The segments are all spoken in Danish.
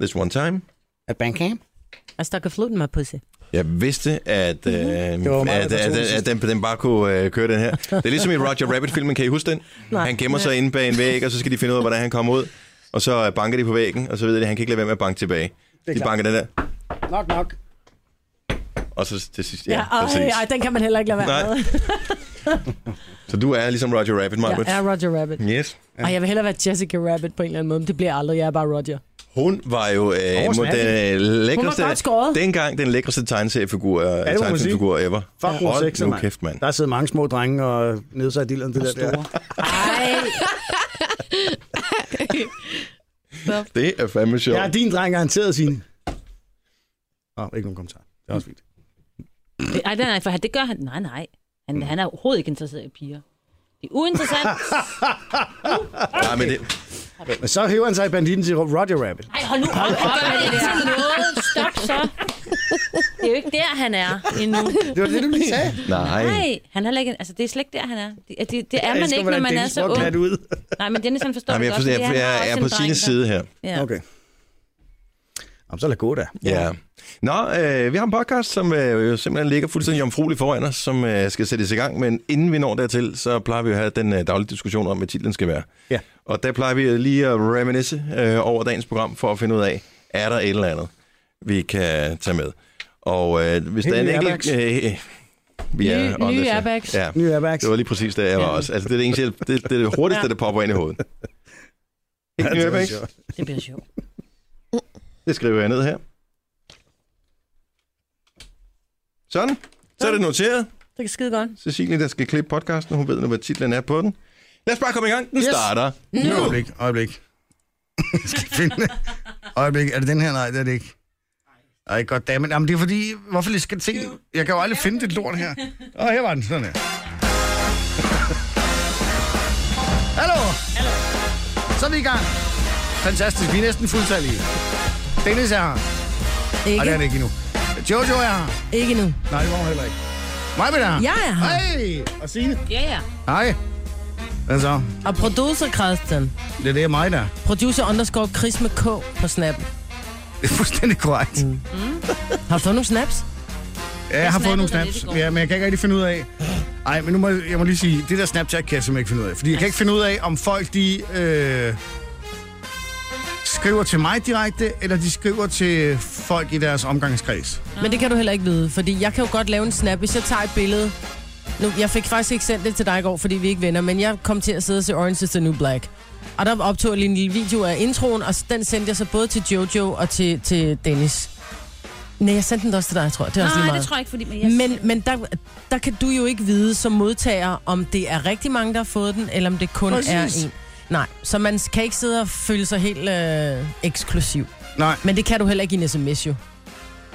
this one time. At Bandcamp? I stuck a flute in my pussy. Jeg vidste, at, øh, at, var at, mig, at, der tog at, den sidste. at den, den bare kunne øh, køre den her. Det er ligesom i Roger Rabbit-filmen, kan I huske den? Nej. Han gemmer sig inde bag en væg, og så skal de finde ud af, hvordan han kommer ud. Og så øh, banker de på væggen, og så ved de, at han kan ikke lade være med at banke tilbage. De klart. banker den der, Nok, nok. og så til sidst. Ja, Ja, ja præcis. ej, ej, den kan man heller ikke lade være Nej. med. Så du er ligesom Roger Rabbit, Marbert. Jeg er Roger Rabbit. Yes. Og jeg vil hellere være Jessica Rabbit på en eller anden måde, men det bliver jeg aldrig. Jeg er bare Roger. Hun var jo øh, mod smagen. den øh, lækreste, godt skåret. dengang den lækreste tegneseriefigur, øh, må man sige. tegnefilmfigur ever. Fuck ja, Hold 6, nu kæft, mand. Der sidder mange små drenge og nedsat dilleren det der. der. Ej, Det er fandme sjovt. Ja, din dreng garanteret sine. Nå, ikke nogen kommentar. Det er også fint. Ej, nej, nej, for han- det gør han. Nej, nej. Han, han er overhovedet ikke interesseret i piger. Det er uinteressant. Nej, men det, Men så hæver han sig i banditten til Roger Rabbit. Ej, hold nu op, op med det der. Noget. Stop så. Det er jo ikke der, han er endnu. Det var det, du lige sagde. nej. Nej, han er heller ikke, altså, det er slet ikke der, han er. Det, det, det er Jeg man elsker, ikke, når hvordan man er Dennis så får ung. klat ud. Nej, men Dennis, han forstår Nej, men det jeg, godt. forstår, jeg, fordi jeg, han har jeg er også på en dreng, sine der- side her. Ja. Okay. Jamen, så lad gå da. Ja. Nå, øh, vi har en podcast, som øh, jo simpelthen ligger fuldstændig jomfruelig foran os, som øh, skal sættes i gang. Men inden vi når dertil, så plejer vi at have den øh, daglige diskussion om, hvad titlen skal være. Ja. Og der plejer vi øh, lige at reminisce øh, over dagens program, for at finde ud af, er der et eller andet, vi kan tage med. Og øh, hvis Helt der er en nye enkelt... Øh, øh, vi Nye- er on nye this, ja. airbags. Ja. Nye airbags. Det var lige præcis det, jeg var Ja. også. Altså, det er det, eneste, jeg- det, det, er det hurtigste, der popper ind i hovedet. Ikke Ja, nye det var airbags? sjovt. Det bliver sjovt. Det skriver jeg ned her. Sådan. Så er det noteret. det kan skide godt. Cecilie, der skal klippe podcasten, hun ved nu, hvad titlen er på den. Lad os bare komme i gang. Den yes. Yes. starter nu. Øjeblik, øjeblik. Jeg skal finde det. Øjeblik, er det den her? Nej, det er det ikke. Ej, goddammit. Jamen, det er fordi, hvorfor lige skal jeg tænke? Jeg kan jo aldrig finde det lort her. Åh, her var den sådan her. Hallo! Så er vi i gang. Fantastisk, vi er næsten fuldtallige. Dennis er her. Nej, det er det Ikke, ikke endnu. Jojo er her. ikke nu. Nej, det var hun heller ikke. Mig er her. Jeg er her. Hej! Og Signe. Ja, ja. Hej. Hvad så? Og producer Christian. Det er det, mig der. Producer underscore Chris med K på Snap. Det er fuldstændig korrekt. Mm. Har du fået nogle snaps? Ja, jeg har fået nogle snappede der snaps, lidt i går. ja, men jeg kan ikke rigtig finde ud af... Ej, men nu må jeg, jeg må lige sige, det der Snapchat kan jeg simpelthen ikke finde ud af. Fordi jeg kan ikke finde ud af, om folk de øh, skriver til mig direkte, eller de skriver til folk i deres omgangskreds. Men det kan du heller ikke vide, fordi jeg kan jo godt lave en snap, hvis jeg tager et billede. Nu, jeg fik faktisk ikke sendt det til dig i går, fordi vi er ikke venner, men jeg kom til at sidde og se Orange is the New Black. Og der optog jeg lige en lille video af introen, og den sendte jeg så både til Jojo og til, til Dennis. Nej, jeg sendte den også til dig, tror jeg. Det er også lige Nej, meget. det tror jeg ikke, fordi... Men, jeg, Men, men der, der kan du jo ikke vide som modtager, om det er rigtig mange, der har fået den, eller om det kun Præcis. Præcis. er en. Nej, så man kan ikke sidde og føle sig helt øh, eksklusiv. Nej, Men det kan du heller ikke i en sms jo.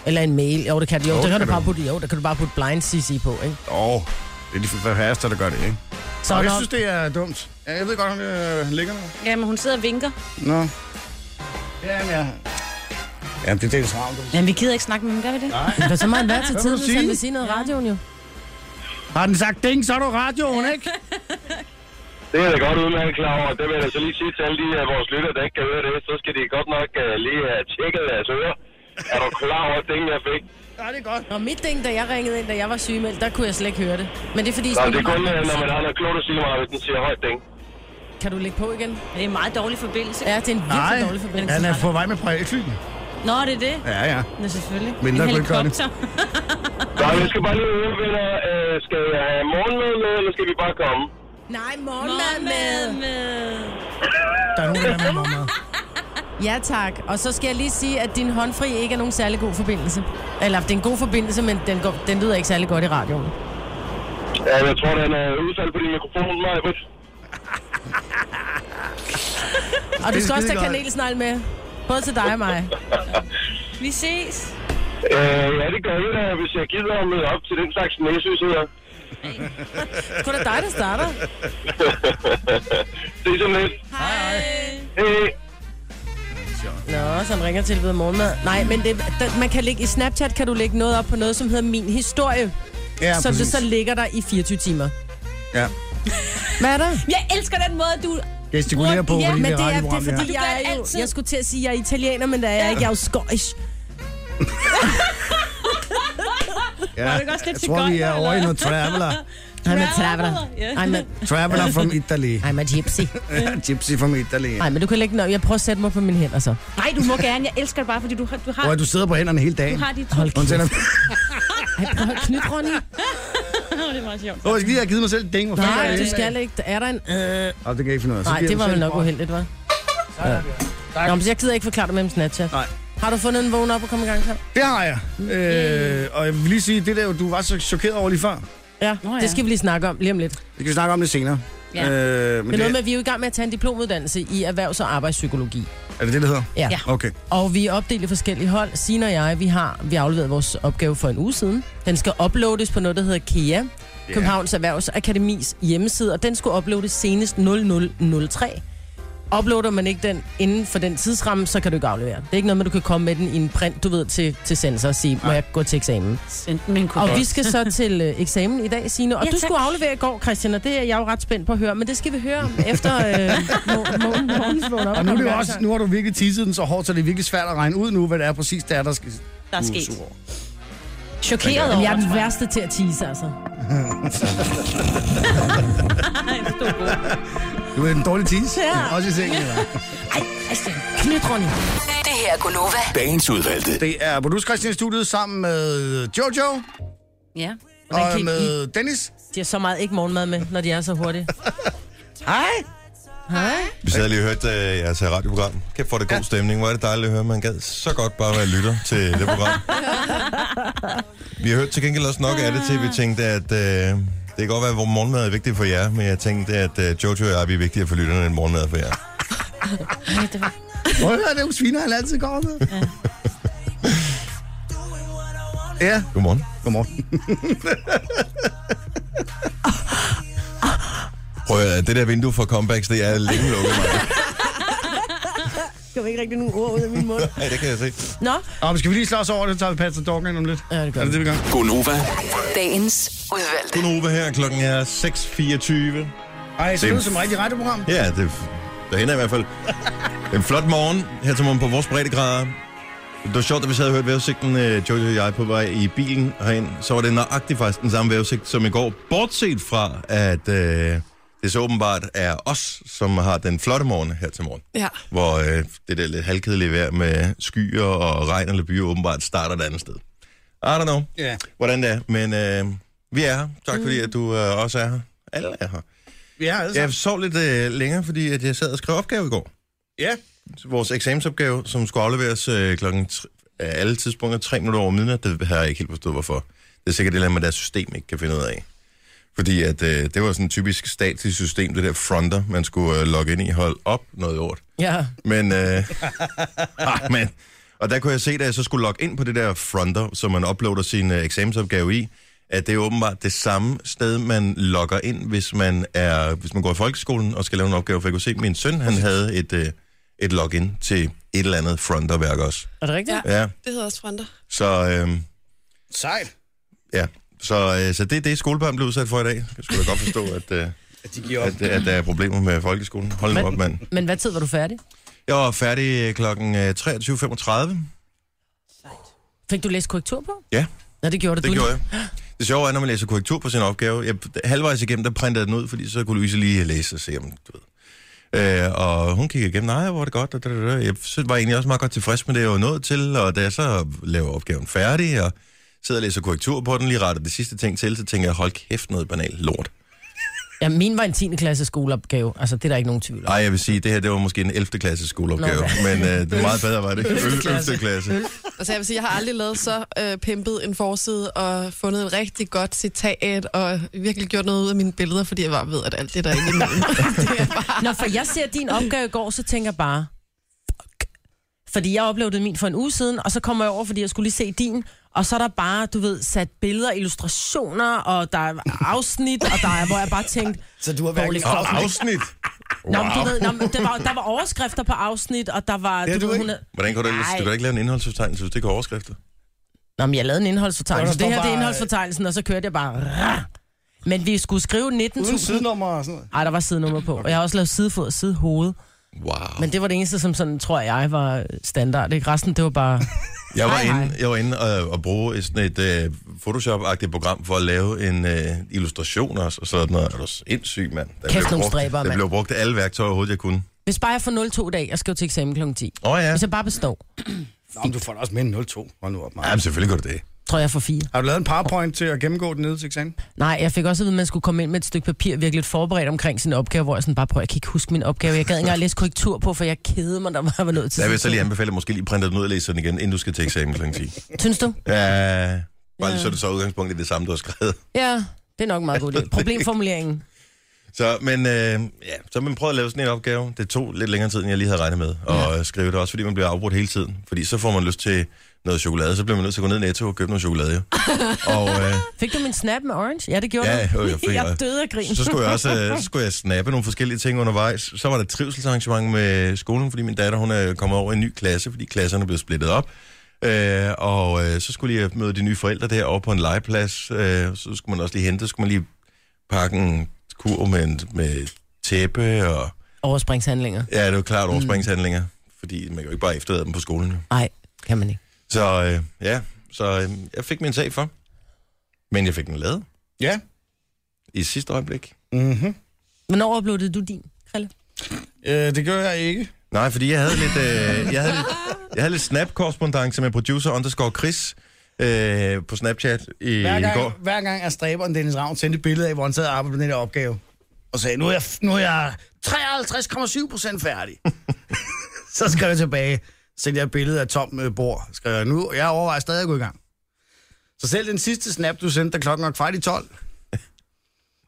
Eller en mail. Jo, det kan, du. jo, Jo, det kan kan du du. bare putte, jo, der kan du bare putte blind CC på, ikke? åh, oh, det er de færreste, der gør det, ikke? Så Og jeg når- synes, det er dumt. Ja, jeg ved godt, om det øh, ligger nu. ja, men hun sidder og vinker. Nå. Jamen, ja. Jamen, det er Dennis Ravn. du. Men vi gider ikke snakke med ham, gør vi det? Men så må han være til Hvad må du tiden, hvis han sige? vil sige noget i radioen jo. Har den sagt ding, så er du radioen, ikke? Det er jeg godt udmærket klar over. Det vil jeg da så lige sige til alle de af vores lytter, der ikke kan høre det. Så skal de godt nok uh, lige have tjekket deres ører. Er du klar over det, jeg fik? Ja, det er godt. Og mit ding, da jeg ringede ind, da jeg var sygemeldt, der kunne jeg slet ikke høre det. Men det er fordi... Nå, sådan- det er kun, øh, når man har noget klogt at sige mig, hvis den siger højt ding. Kan du lægge på igen? Det er en meget dårlig forbindelse. Ja, det er en virkelig Nej, dårlig forbindelse. han er på vej med privatflyet. Nå, det er det. Ja, ja. Nå, selvfølgelig. Men der en kunne ikke gøre det. helikopter. Nå, jeg skal bare lige høre, venner. Øh, skal jeg have morgenmad med, eller skal vi bare komme? Nej, morgenmad med. Der er nogen, der er med mig. Ja, tak. Og så skal jeg lige sige, at din håndfri ikke er nogen særlig god forbindelse. Eller, det er en god forbindelse, men den, går, den lyder ikke særlig godt i radioen. Ja, jeg tror, den er udsalg på din mikrofon, Majbrit. Og du skal også tage skidegodt. kanelsnegl med. Både til dig og mig. Vi ses. Øh, ja, det gør jeg da, hvis jeg gider at møde op til den slags næsøsheder. Kun er dig, der starter. Det er sådan lidt. Hej. Nå, så han ringer til ved morgenmad. Nej, men det, der, man kan ligge, i Snapchat kan du lægge noget op på noget, som hedder Min Historie. Ja, Ja, som det præcis. så ligger der i 24 timer. Ja. Hvad er der? Jeg elsker den måde, du gestikulere på, ja, fordi men det det er, det radioprogram, er fordi, ja. jeg er jo, altid. jeg skulle til at sige, at jeg er italiener, men det er jeg ikke, jeg er jo skotsk. Ja, det også lidt jeg til tror, vi gøjler, er over i eller? noget traveler. I'm a traveler. Ja. I'm a, Traveler from Italy. I'm a gypsy. Gypsy from Italy. Nej, men du kan lægge den op. Jeg prøver at sætte mig på mine hænder så. Nej, du må gerne. Jeg elsker det bare, fordi du har, du har, Hvor du sidder på hænderne hele dagen. du har de to. Hold Hun kæft. tænder... Ej, prøv at knytte, Ronny. det er meget sjovt. Åh, jeg skal lige have givet mig selv et ding. Hvor fanden er Nej, det? du skal ikke. Der Er der en... Øh. Åh, det kan jeg ikke finde ud af. Så Nej, giver det du var selv vel et nok brød. uheldigt, hva'? Ja. Nå, men jeg gider ikke forklare dig med om Snapchat. Nej. Har du fundet en vågen op og komme i gang, Sam? Det har jeg. Øh, og jeg vil lige sige, det der, du var så chokeret over lige før. Ja, Nå ja. det skal vi lige snakke om lige om lidt. Det kan vi snakke om lidt senere. Ja. Øh, Men det er noget med, at vi er jo i gang med at tage en diplomuddannelse i erhvervs- og arbejdspsykologi. Er det det, det hedder? Ja. Ja. Okay. Og vi er opdelt i forskellige hold. Sina og jeg, vi har vi afleveret vores opgave for en uge siden. Den skal uploades på noget, der hedder KEA, yeah. Københavns Erhvervsakademis hjemmeside, og den skulle uploades senest 0003. Uploader man ikke den inden for den tidsramme, så kan du ikke aflevere. Det er ikke noget med, at du kan komme med den i en print, du ved, til, til sensor og sige, må jeg gå til eksamen? Send den med en Og kuffert. vi skal så til øh, eksamen i dag, Signe. Og Ja, ja, du tak. skulle aflevere i går, Christian, og det er jeg jo ret spændt på at høre. Men det skal vi høre om efter øh, morgen, morgen, morgen, morgen op. Og nu, er det jo også, nu har du virkelig tisset den så hårdt, så det er virkelig svært at regne ud nu, hvad det er præcis, der er, der skal... Der er Du er sket. sur over. Chokeret Jamen, over, jeg er den tror værste til at tease, altså. Ej, det stod god. Du er en dårlig tis. Ja. Også i sengen, eller? Ej, Christian, knyt, Ronny. Det her er Gunova. Dagens udvalgte. Det er producer Christian i studiet sammen med Jojo Ja. Hvordan og kan med... med Dennis. I... De har så meget ikke morgenmad med, når de er så hurtige. Hej. Hej. Vi sad lige og hørte øh, jeres radioprogram. Kæft for det god ja. stemning. Hvor er det dejligt at høre, man gad så godt bare være lytter til det program. vi har hørt til gengæld også nok af det til, at vi tænkte, at øh, det kan godt være, at morgenmad er vigtigt for jer, men jeg tænkte, at øh, Jojo og jeg vi er vigtigere for lytterne end morgenmad er for jer. Prøv at høre, det er jo sviner, han altid går med. Ja, Godmorgen. godmorgen. Prøv at høre, det der vindue for comebacks, det er længe lukket. Mig. Skal vi ikke rigtig nogen ord ud af min mund? Nej, det kan jeg se. Nå. Og skal vi lige slå os over det, så tager vi Patrick Dorgan om lidt. Ja, det gør Er det det, vi gør? Gonova. Dagens udvalgte. Gunova her, klokken er 6.24. Ej, så Det- det er som rigtig radioprogram. Ja, det der hænder i hvert fald. En flot morgen her til morgen på vores breddegrader. Det var sjovt, at vi havde hørt vejrudsigten, øh, Jojo og jeg, på vej i bilen herind. Så var det nøjagtigt faktisk den samme vejrudsigt som i går. Bortset fra, at øh, det så åbenbart er os, som har den flotte morgen her til morgen. Ja. Hvor øh, det der lidt halvkedelige vejr med skyer og regn eller byer åbenbart starter et andet sted. I don't know, Ja. hvordan det er, men øh, vi er her. Tak fordi, at du øh, også er her. Alle er her. Ja, altså. Jeg sov lidt øh, længere, fordi at jeg sad og skrev opgave i går. Ja. Vores eksamensopgave, som skulle afleveres øh, klokken tr- øh, alle tidspunkter, tre minutter over midnat, det har jeg ikke helt forstået, hvorfor. Det er sikkert det der med, at deres system ikke kan finde ud af. Fordi at, øh, det var sådan et typisk statsligt system, det der fronter, man skulle øh, logge ind i, hold op, noget ord. Ja. Men, øh, ah, men, og der kunne jeg se, da jeg så skulle logge ind på det der fronter, som man uploader sin øh, eksamensopgave i, at det er åbenbart det samme sted, man logger ind, hvis man, er, hvis man går i folkeskolen og skal lave en opgave. For jeg kunne se, at min søn han havde et, øh, et login til et eller andet fronterværk også. Er det rigtigt? Ja. Ja, Det hedder også fronter. så, øh, Sejt. ja. så, øh, så det er det, skolebørn blev udsat for i dag. Jeg skulle da godt forstå, at, øh, At de giver op. at, at der er problemer med folkeskolen. Hold nu Men- op, mand. Men hvad tid var du færdig? Jeg var færdig øh, klokken øh, 23.35. Fik du læst korrektur på? Ja. Nå, det gjorde du. Det du gjorde jeg. Det sjove er, når man læser korrektur på sin opgave, jeg, halvvejs igennem, der printede jeg den ud, fordi så kunne Louise lige læse og se, om du ved. Øh, og hun kiggede igennem, nej, hvor er det godt, og da, da, da. jeg synes, var egentlig også meget godt tilfreds med det, jeg var nået til, og da jeg så laver opgaven færdig, og sidder og læser korrektur på den, lige retter det sidste ting til, så tænker jeg, hold kæft, noget banalt lort. Ja, min var en 10. klasse skoleopgave. Altså, det er der ikke nogen tvivl om. Nej, jeg vil sige, det her, det var måske en 11. klasse skoleopgave, Nå, okay. men øh, det var meget bedre, var det? 11. klasse. klasse. klasse. Altså jeg vil sige, jeg har aldrig lavet så øh, pimpet en forside og fundet et rigtig godt citat og virkelig gjort noget ud af mine billeder, fordi jeg bare ved, at alt det der er ikke imellem. det er bare... Nå, for jeg ser din opgave i går, så tænker jeg bare, fuck. Fordi jeg oplevede min for en uge siden, og så kommer jeg over, fordi jeg skulle lige se din, og så er der bare, du ved, sat billeder, illustrationer, og der er afsnit, og der er, hvor jeg bare tænkte, Så du har været Dårlig Og afsnit. wow. nå, men du ved, nå, men der, var, der var overskrifter på afsnit, og der var... er du ved, ikke. havde- Hvordan kunne du ellers, du kan da ikke lave en indholdsfortegnelse, hvis det kan overskrifter? Nå, men jeg lavede en Nå, indholdsfortegnelse. der står Det her, det er bare- indholdsfortegnelsen, og så kørte jeg bare... rah. Men vi skulle skrive Uden 19.000. sidenummer og sådan noget. Ej, der var sidenummer på. Og jeg har også lavet sidefod og sidehoved. Wow. Men det var det eneste, som sådan, tror jeg, var standard. Ikke? Resten, det var bare... Jeg var Hej, hej. inde, jeg var inde og, og bruge et- sådan et øh, Photoshop-agtigt program for at lave en øh, illustration også, og sådan noget. Er du sindssyg, mand? Der Kæft, nogle brugt, stræber, Der mand. blev brugt alle værktøjer overhovedet, jeg kunne. Hvis bare jeg får 0,2 i dag, jeg skal jo til eksamen kl. 10. Åh oh, ja. Hvis jeg bare består, Nå, men du får da også med en 02. Hold nu op, Maja. Jamen, selvfølgelig gør du det. tror jeg, jeg får 4. Har du lavet en PowerPoint til at gennemgå den nede til eksamen? Nej, jeg fik også at vide, at man skulle komme ind med et stykke papir, virkelig lidt forberedt omkring sin opgave, hvor jeg sådan bare prøver, jeg kan ikke huske min opgave. Jeg gad ikke engang læse korrektur på, for jeg kedede mig, der var, var noget til. Der vil jeg sidst. så lige anbefale, at måske lige printe den ud og læse den igen, inden du skal til eksamen kl. 10. Synes du? Ja, bare lige så er det så udgangspunkt i det samme, du har skrevet. Ja, det er nok en meget god idé. Problemformuleringen. Så, men, øh, ja, så man prøvede at lave sådan en opgave. Det tog lidt længere tid, end jeg lige havde regnet med at ja. skrive det. Også fordi man bliver afbrudt hele tiden. Fordi så får man lyst til noget chokolade. Så bliver man nødt til at gå ned i Netto og købe noget chokolade. jo. og øh, Fik du min snap med orange? Ja, det gjorde Ja, du. jo, jeg fik- jeg døde af grin. så skulle jeg også øh, så skulle jeg snappe nogle forskellige ting undervejs. Så var der et trivselsarrangement med skolen, fordi min datter hun er kommet over i en ny klasse, fordi klasserne blev splittet op. Øh, og øh, så skulle jeg møde de nye forældre derovre på en legeplads. Øh, så skulle man også lige hente, så skulle man lige pakke en kur med, en, med tæppe og... Overspringshandlinger. Ja, det er jo klart overspringshandlinger, fordi man kan jo ikke bare efterlade dem på skolen. jo. Nej, kan man ikke. Så øh, ja, så øh, jeg fik min sag for. Men jeg fik den lavet Ja. i sidste øjeblik. Mm-hmm. Hvornår uploadede du din, Krille? Øh, det gør jeg ikke. Nej, fordi jeg havde lidt, øh, jeg havde lidt, jeg havde lidt snap-korrespondence med producer underscore Chris øh, på Snapchat i, Hver i går. gang, hver gang at stræberen Dennis Ravn sendte et billede af, hvor han sad og arbejdede på den her opgave, og sagde, nu er jeg, nu er jeg 53,7 procent færdig. så skrev jeg tilbage, sendte jeg et billede af Tom øh, bord, skrev jeg nu, og jeg overvejer stadig at gå i gang. Så selv den sidste snap, du sendte, der klokken var kvart i 12,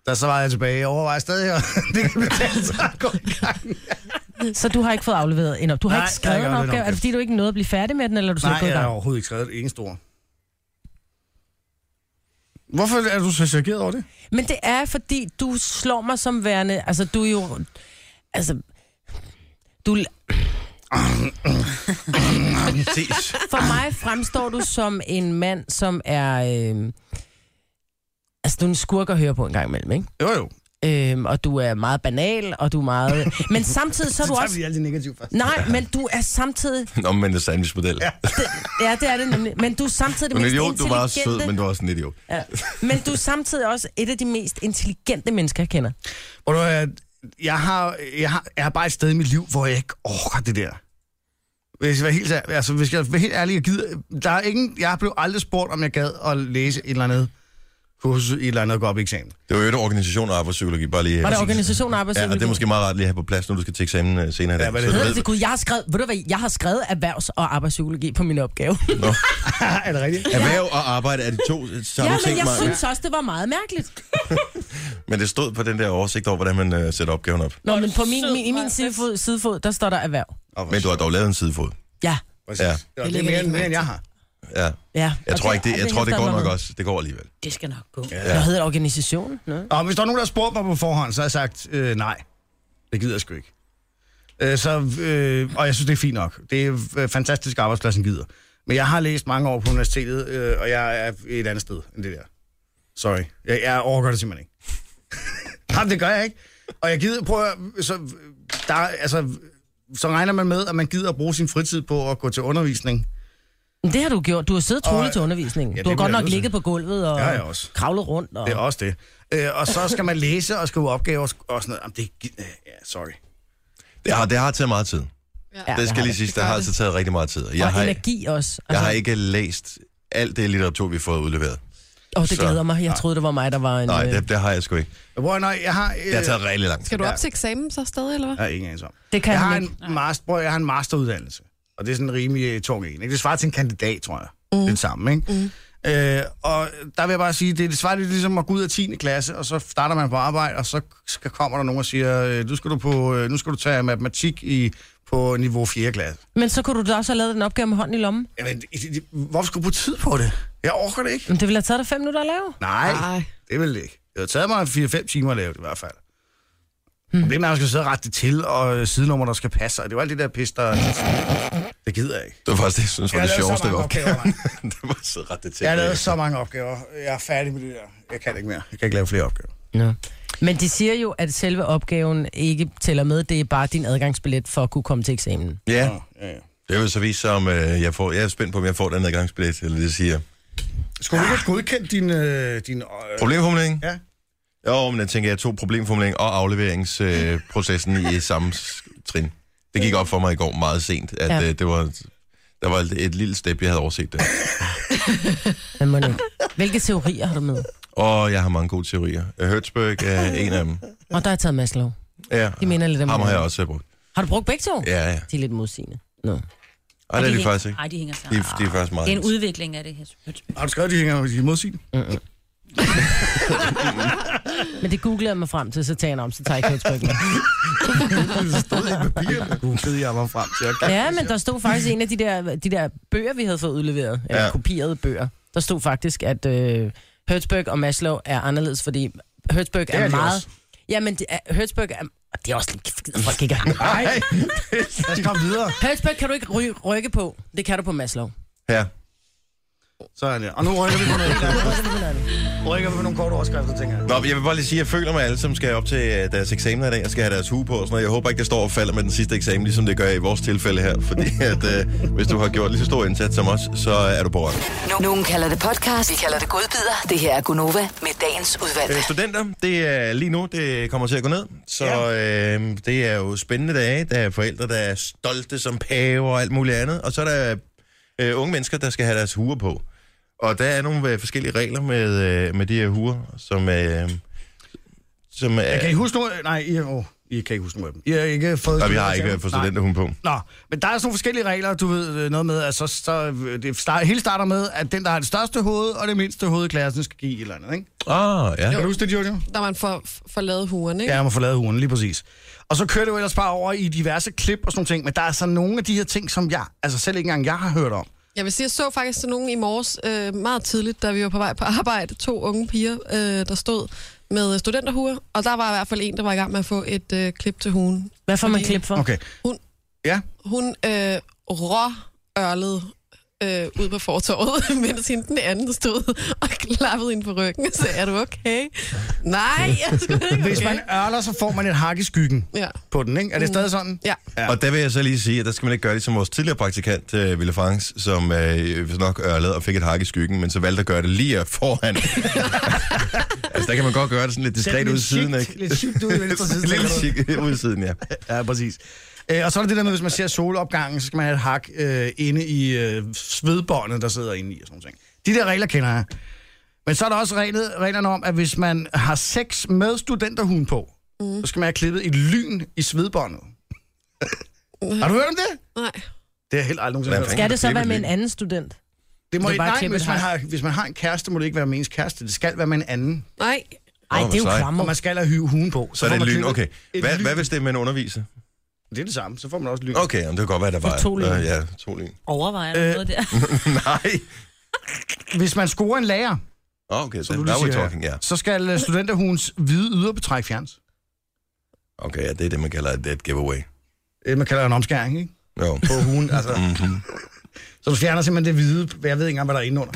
der så var jeg tilbage, jeg overvejer stadig, at det kan betale sig at gå i gang. Så du har ikke fået afleveret en op. Du har Nej, ikke jeg har skrevet ikke en afleveret en opgave. Er opgave. det fordi, du ikke nåede at blive færdig med den, eller er du så Nej, gået i jeg har gang? overhovedet ikke skrevet et eneste ord. Hvorfor er du så chokeret over det? Men det er, fordi du slår mig som værende... Altså, du er jo... Altså... Du, Præcis. for mig fremstår du som en mand, som er... Øh, altså, du er en skurk at høre på en gang imellem, ikke? Jo jo. Øhm, og du er meget banal, og du er meget... Men samtidig så er Så du tager også... vi lige alt det negative først. Nej, men du er samtidig... Nå, men det er sandwichmodel. Ja, Ja, det er det nemlig. Men du er samtidig det men mest idiot, du var også sød, intelligente- men du var også en idiot. Ja. Men du er samtidig også et af de mest intelligente mennesker, jeg kender. Hvor du, jeg, jeg, har, jeg, har, jeg har bare et sted i mit liv, hvor jeg ikke orker det der. Hvis jeg var helt, ær- altså, hvis jeg var helt ærlig, jeg gider, der er ingen, jeg blev aldrig spurgt, om jeg gad at læse et eller andet kursus, et eller andet gå op i eksamen. Det var jo et organisation og arbejdspsykologi, bare lige... Var der organisation og Ja, og det er måske meget rart lige at have på plads, når du skal til eksamen øh, senere i dag. Ja, hvad Så det du Ved ved- du, til Altså, Gud, jeg har skrevet, ved du hvad, jeg har skrevet erhvervs- og arbejdspsykologi på min opgave. er det rigtigt? Erhverv og arbejde er de øh, to samme ja, men ting, jeg Maja. synes også, det var meget mærkeligt. Men det stod på den der oversigt over, hvordan man øh, sætter opgaven op. Nå, Hvor er men du på min, sød, min, i min Maja. sidefod, sidefod, der står der erhverv. Men du har dog lavet en sidefod. Ja, Præcis. Ja. Ja. Det, er det er mere, end- mere, end jeg har. Ja. ja. Jeg Og tror ikke, det, jeg er tror, det går der nok noget. også. Det går alligevel. Det skal nok gå. Ja. Hvad hedder det, organisationen? Nå. Og hvis der er nogen, der har spurgt mig på forhånd, så har jeg sagt, øh, nej, det gider jeg sgu ikke. Øh, så, øh, og jeg synes, det er fint nok. Det er øh, fantastisk, arbejdspladsen gider. Men jeg har læst mange år på universitetet, øh, og jeg er et andet sted end det der. Sorry. Jeg, jeg overgår det simpelthen ikke. Jamen, det gør jeg ikke. Og jeg gider, prøv at, høre, så, øh, der, er- altså, så regner man med, at man gider at bruge sin fritid på at gå til undervisning. Men det har du gjort. Du har siddet Og- troligt til undervisningen. Ja, Ja, du har det bliver godt jeg nok nødt til. ligget på gulvet og Det har jeg også. kravlet rundt. Og... Det er også det. Øh, og så skal man læse og skrive opgaver og sådan noget. Jamen, det gider Ja, sorry. Det har, det har taget meget tid. Ja, det skal har lige sige, der gør har det. altså taget rigtig meget tid. Og Jeg Jeg og har... har, energi også. jeg Altså, har ikke læst alt det litteratur, vi har fået udleveret. Åh, oh, det så- glæder mig. Jeg troede, det var mig, der var en... Nej, øh, det, det har jeg sgu ikke. Hvor, nej, jeg har... Øh, Det har taget rigtig lang tid. Skal du op til eksamen så stadig, eller hvad? Jeg har ingen anelse om. Det kan jeg han har ikke. En master, prøv, at- jeg har en masteruddannelse, og det er sådan en rimelig øh, tung en. Ikke? Det svarer til en kandidat, tror jeg. Mm. Det samme, ikke? Mm. Øh, og der vil jeg bare sige, det, det svarer lidt ligesom at gå ud af 10. klasse, og så starter man på arbejde, og så skal, kommer der nogen og siger, øh, nu, skal du på, øh, nu skal du tage matematik i, på niveau 4. klasse. Men så kunne du da også have lavet den opgave med hånden i lommen. Jamen, det- det- det- hvorfor skulle du bruge tid på det? Jeg orker det ikke. Men det ville have taget dig fem minutter at lave. Nej, Ej. det vil det ikke. Det har taget mig 4-5 timer at lave det i hvert fald. Hmm. Problemet er, at man skal sidde og rette det til, og øh, sidenummer, der skal passe, og det var alt det der pis, der... Det gider jeg ikke. Det var faktisk det, jeg synes var Jeg det lavede så sjoveste ved mange opgaven. opgaver, det var så ret det Jeg har lavet så mange opgaver. Jeg er færdig med det der. Jeg kan ikke mere. Jeg kan ikke lave flere opgaver. Nå. Men de siger jo, at selve opgaven ikke tæller med. Det er bare din adgangsbillet for at kunne komme til eksamen. Ja, Ja, ja. det vil så vise sig, om øh, jeg, får, jeg er spændt på, om jeg får den adgangsbillet, eller det siger. Skulle du ikke have godkendt din... Øh, din øh, Problemformulering? Ja. Jo, men jeg tænker, jeg tog problemformulering og afleveringsprocessen øh, processen i samme s- trin. Det gik op for mig i går meget sent, at Ja. ja. øh, det var, der var et, et lille step, jeg havde overset det. Men må ikke. Hvilke teorier har du med? Og jeg har mange gode teorier. Øh, Hertzberg er en af dem. Og der har jeg taget Maslow. Ja, De minder lidt om ham har jeg hinanden. også øh, brugt. Har du brugt begge to? Ja, ja. De er lidt modsigende. Nå. Og det er de hænger- faktisk ikke. Ej, de hænger De, sammen. er- de er faktisk meget Det er en ens. udvikling af det her. har du skrevet, at de hænger i modsigende? Men det googlede jeg mig frem til, så tager jeg den om, så tager jeg kødsbøkken. Det stod i papiret. Googlede jeg mig frem til. Okay. Ja, men der stod faktisk i en af de der, de der bøger, vi havde fået udleveret, eller ja. Ja. kopierede bøger. Der stod faktisk, at øh, Hertzberg og Maslow er anderledes, fordi Hertzberg er, er er de meget... også. Ja, men det er, Hertzberg er... og Det er også lidt skidt, folk ikke har. Nej, lad os komme videre. Hertzberg kan du ikke ry- rykke på. Det kan du på Maslow. Ja. Sådan, ja. Og nu rykker vi på noget helt andet. Rykker vi på nogle korte overskrifter, tænker jeg. Nå, jeg vil bare lige sige, at jeg føler mig alle, som skal op til øh, deres eksamener i dag, og skal have deres hue på og sådan noget. Jeg håber ikke, det står og falder med den sidste eksamen, ligesom det gør i vores tilfælde her. Fordi at, øh, hvis du har gjort lige så stor indsats som os, så er du på røven. No- Nogen kalder det podcast, vi kalder det godbider. Det her er Gunova med dagens udvalgte. Øh, studenter, det er lige nu, det kommer til at gå ned. Så ja. øh, det er jo spændende dage. Der er forældre, der er stolte som paver og alt muligt andet. Og så er der øh, unge mennesker, der skal have deres huer på. Og der er nogle øh, forskellige regler med, øh, med de her huer, som... Øh, som er, Kan I huske nogle... Nej, I, oh, I kan ikke huske nogle af dem. I har ikke fået... Nej, vi har ikke fået Nej. studenterhuen på. Nå, men der er sådan nogle forskellige regler, du ved øh, noget med, at så, så øh, det start, hele starter med, at den, der har det største hoved og det mindste hoved i klassen, skal give et eller andet, ikke? Ah, ja. Kan du huske det, Jojo? Der man får, får lavet huren, ikke? Ja, jeg må få lavet ugen, lige præcis. Og så kører det jo ellers bare over i diverse klip og sådan nogle ting, men der er så nogle af de her ting, som jeg, altså selv ikke engang jeg har hørt om. Jeg vil sige, jeg så faktisk sådan nogen i morges øh, meget tidligt, da vi var på vej på arbejde. To unge piger, øh, der stod med studenterhuer, og der var i hvert fald en, der var i gang med at få et øh, klip til hugen. Hvad får man Fordi- klip for? Okay. Hun, Ja. hun øh, råørlede øh, ud på fortorvet, mens hende den anden stod og klappede hende på ryggen og sagde, er du okay? Nej, jeg skulle ikke Hvis man okay. ørler, så får man et hak i skyggen Ja. på den, ikke? Er det stadig sådan? Ja. Ja. Og der vil jeg så lige sige, at der skal man ikke gøre ligesom vores tidligere praktikant, øh, Ville Franks, som øh, hvis nok ørlede og fik et hak i skyggen, men så valgte at gøre det lige foran. altså, der kan man godt gøre det sådan lidt Sæt diskret ud i lidt siden, chikt- ikke? lidt chikt ud i venstre side, Lidt tænker du? chikt ud i siden, ja. Ja, præcis. Øh, og så er det det der med, hvis man ser solopgangen, så skal man have et hak øh, inde i øh, svedbåndet, der sidder inde i og sådan noget. De der regler kender jeg. Men så er der også reglet, reglerne om, at hvis man har sex med studenterhuen på, mm. så skal man have klippet et lyn i svedbåndet. har du hørt om det? Nej. Det er helt aldrig Hvordan nogensinde hørt om. Skal det så Klippe være med en lige. anden student? Det må Det det er bare nej, klippet hvis man, hak. har, hvis man har en kæreste, må det ikke være med ens kæreste. Det skal være med en anden. Nej. Nej, Åh, det er jo hvor sejt. Og klammer. man skal have hyve huen på. Så er det får en man lyn. klippet Okay. et Hvad, lyn. hvad hvis det er med en underviser? Det er det samme, så får man også lyn. Okay, jamen, det kan godt være, der var... To lyn. Øh, ja, to lyn. Overvejer øh, noget der. Nej. Hvis man scorer en lærer, Åh, Okay, så som du now lige we're siger, talking, ja. så skal øh, studenterhugens hvide yderbetræk fjernes. Okay, ja, det er det, man kalder et dead giveaway. Øh, Man kalder det en omskæring, ikke? Jo. Mm. På hugen, altså. Mm-hmm. Så du fjerner simpelthen det hvide, jeg ved ikke engang, hvad der er inde under.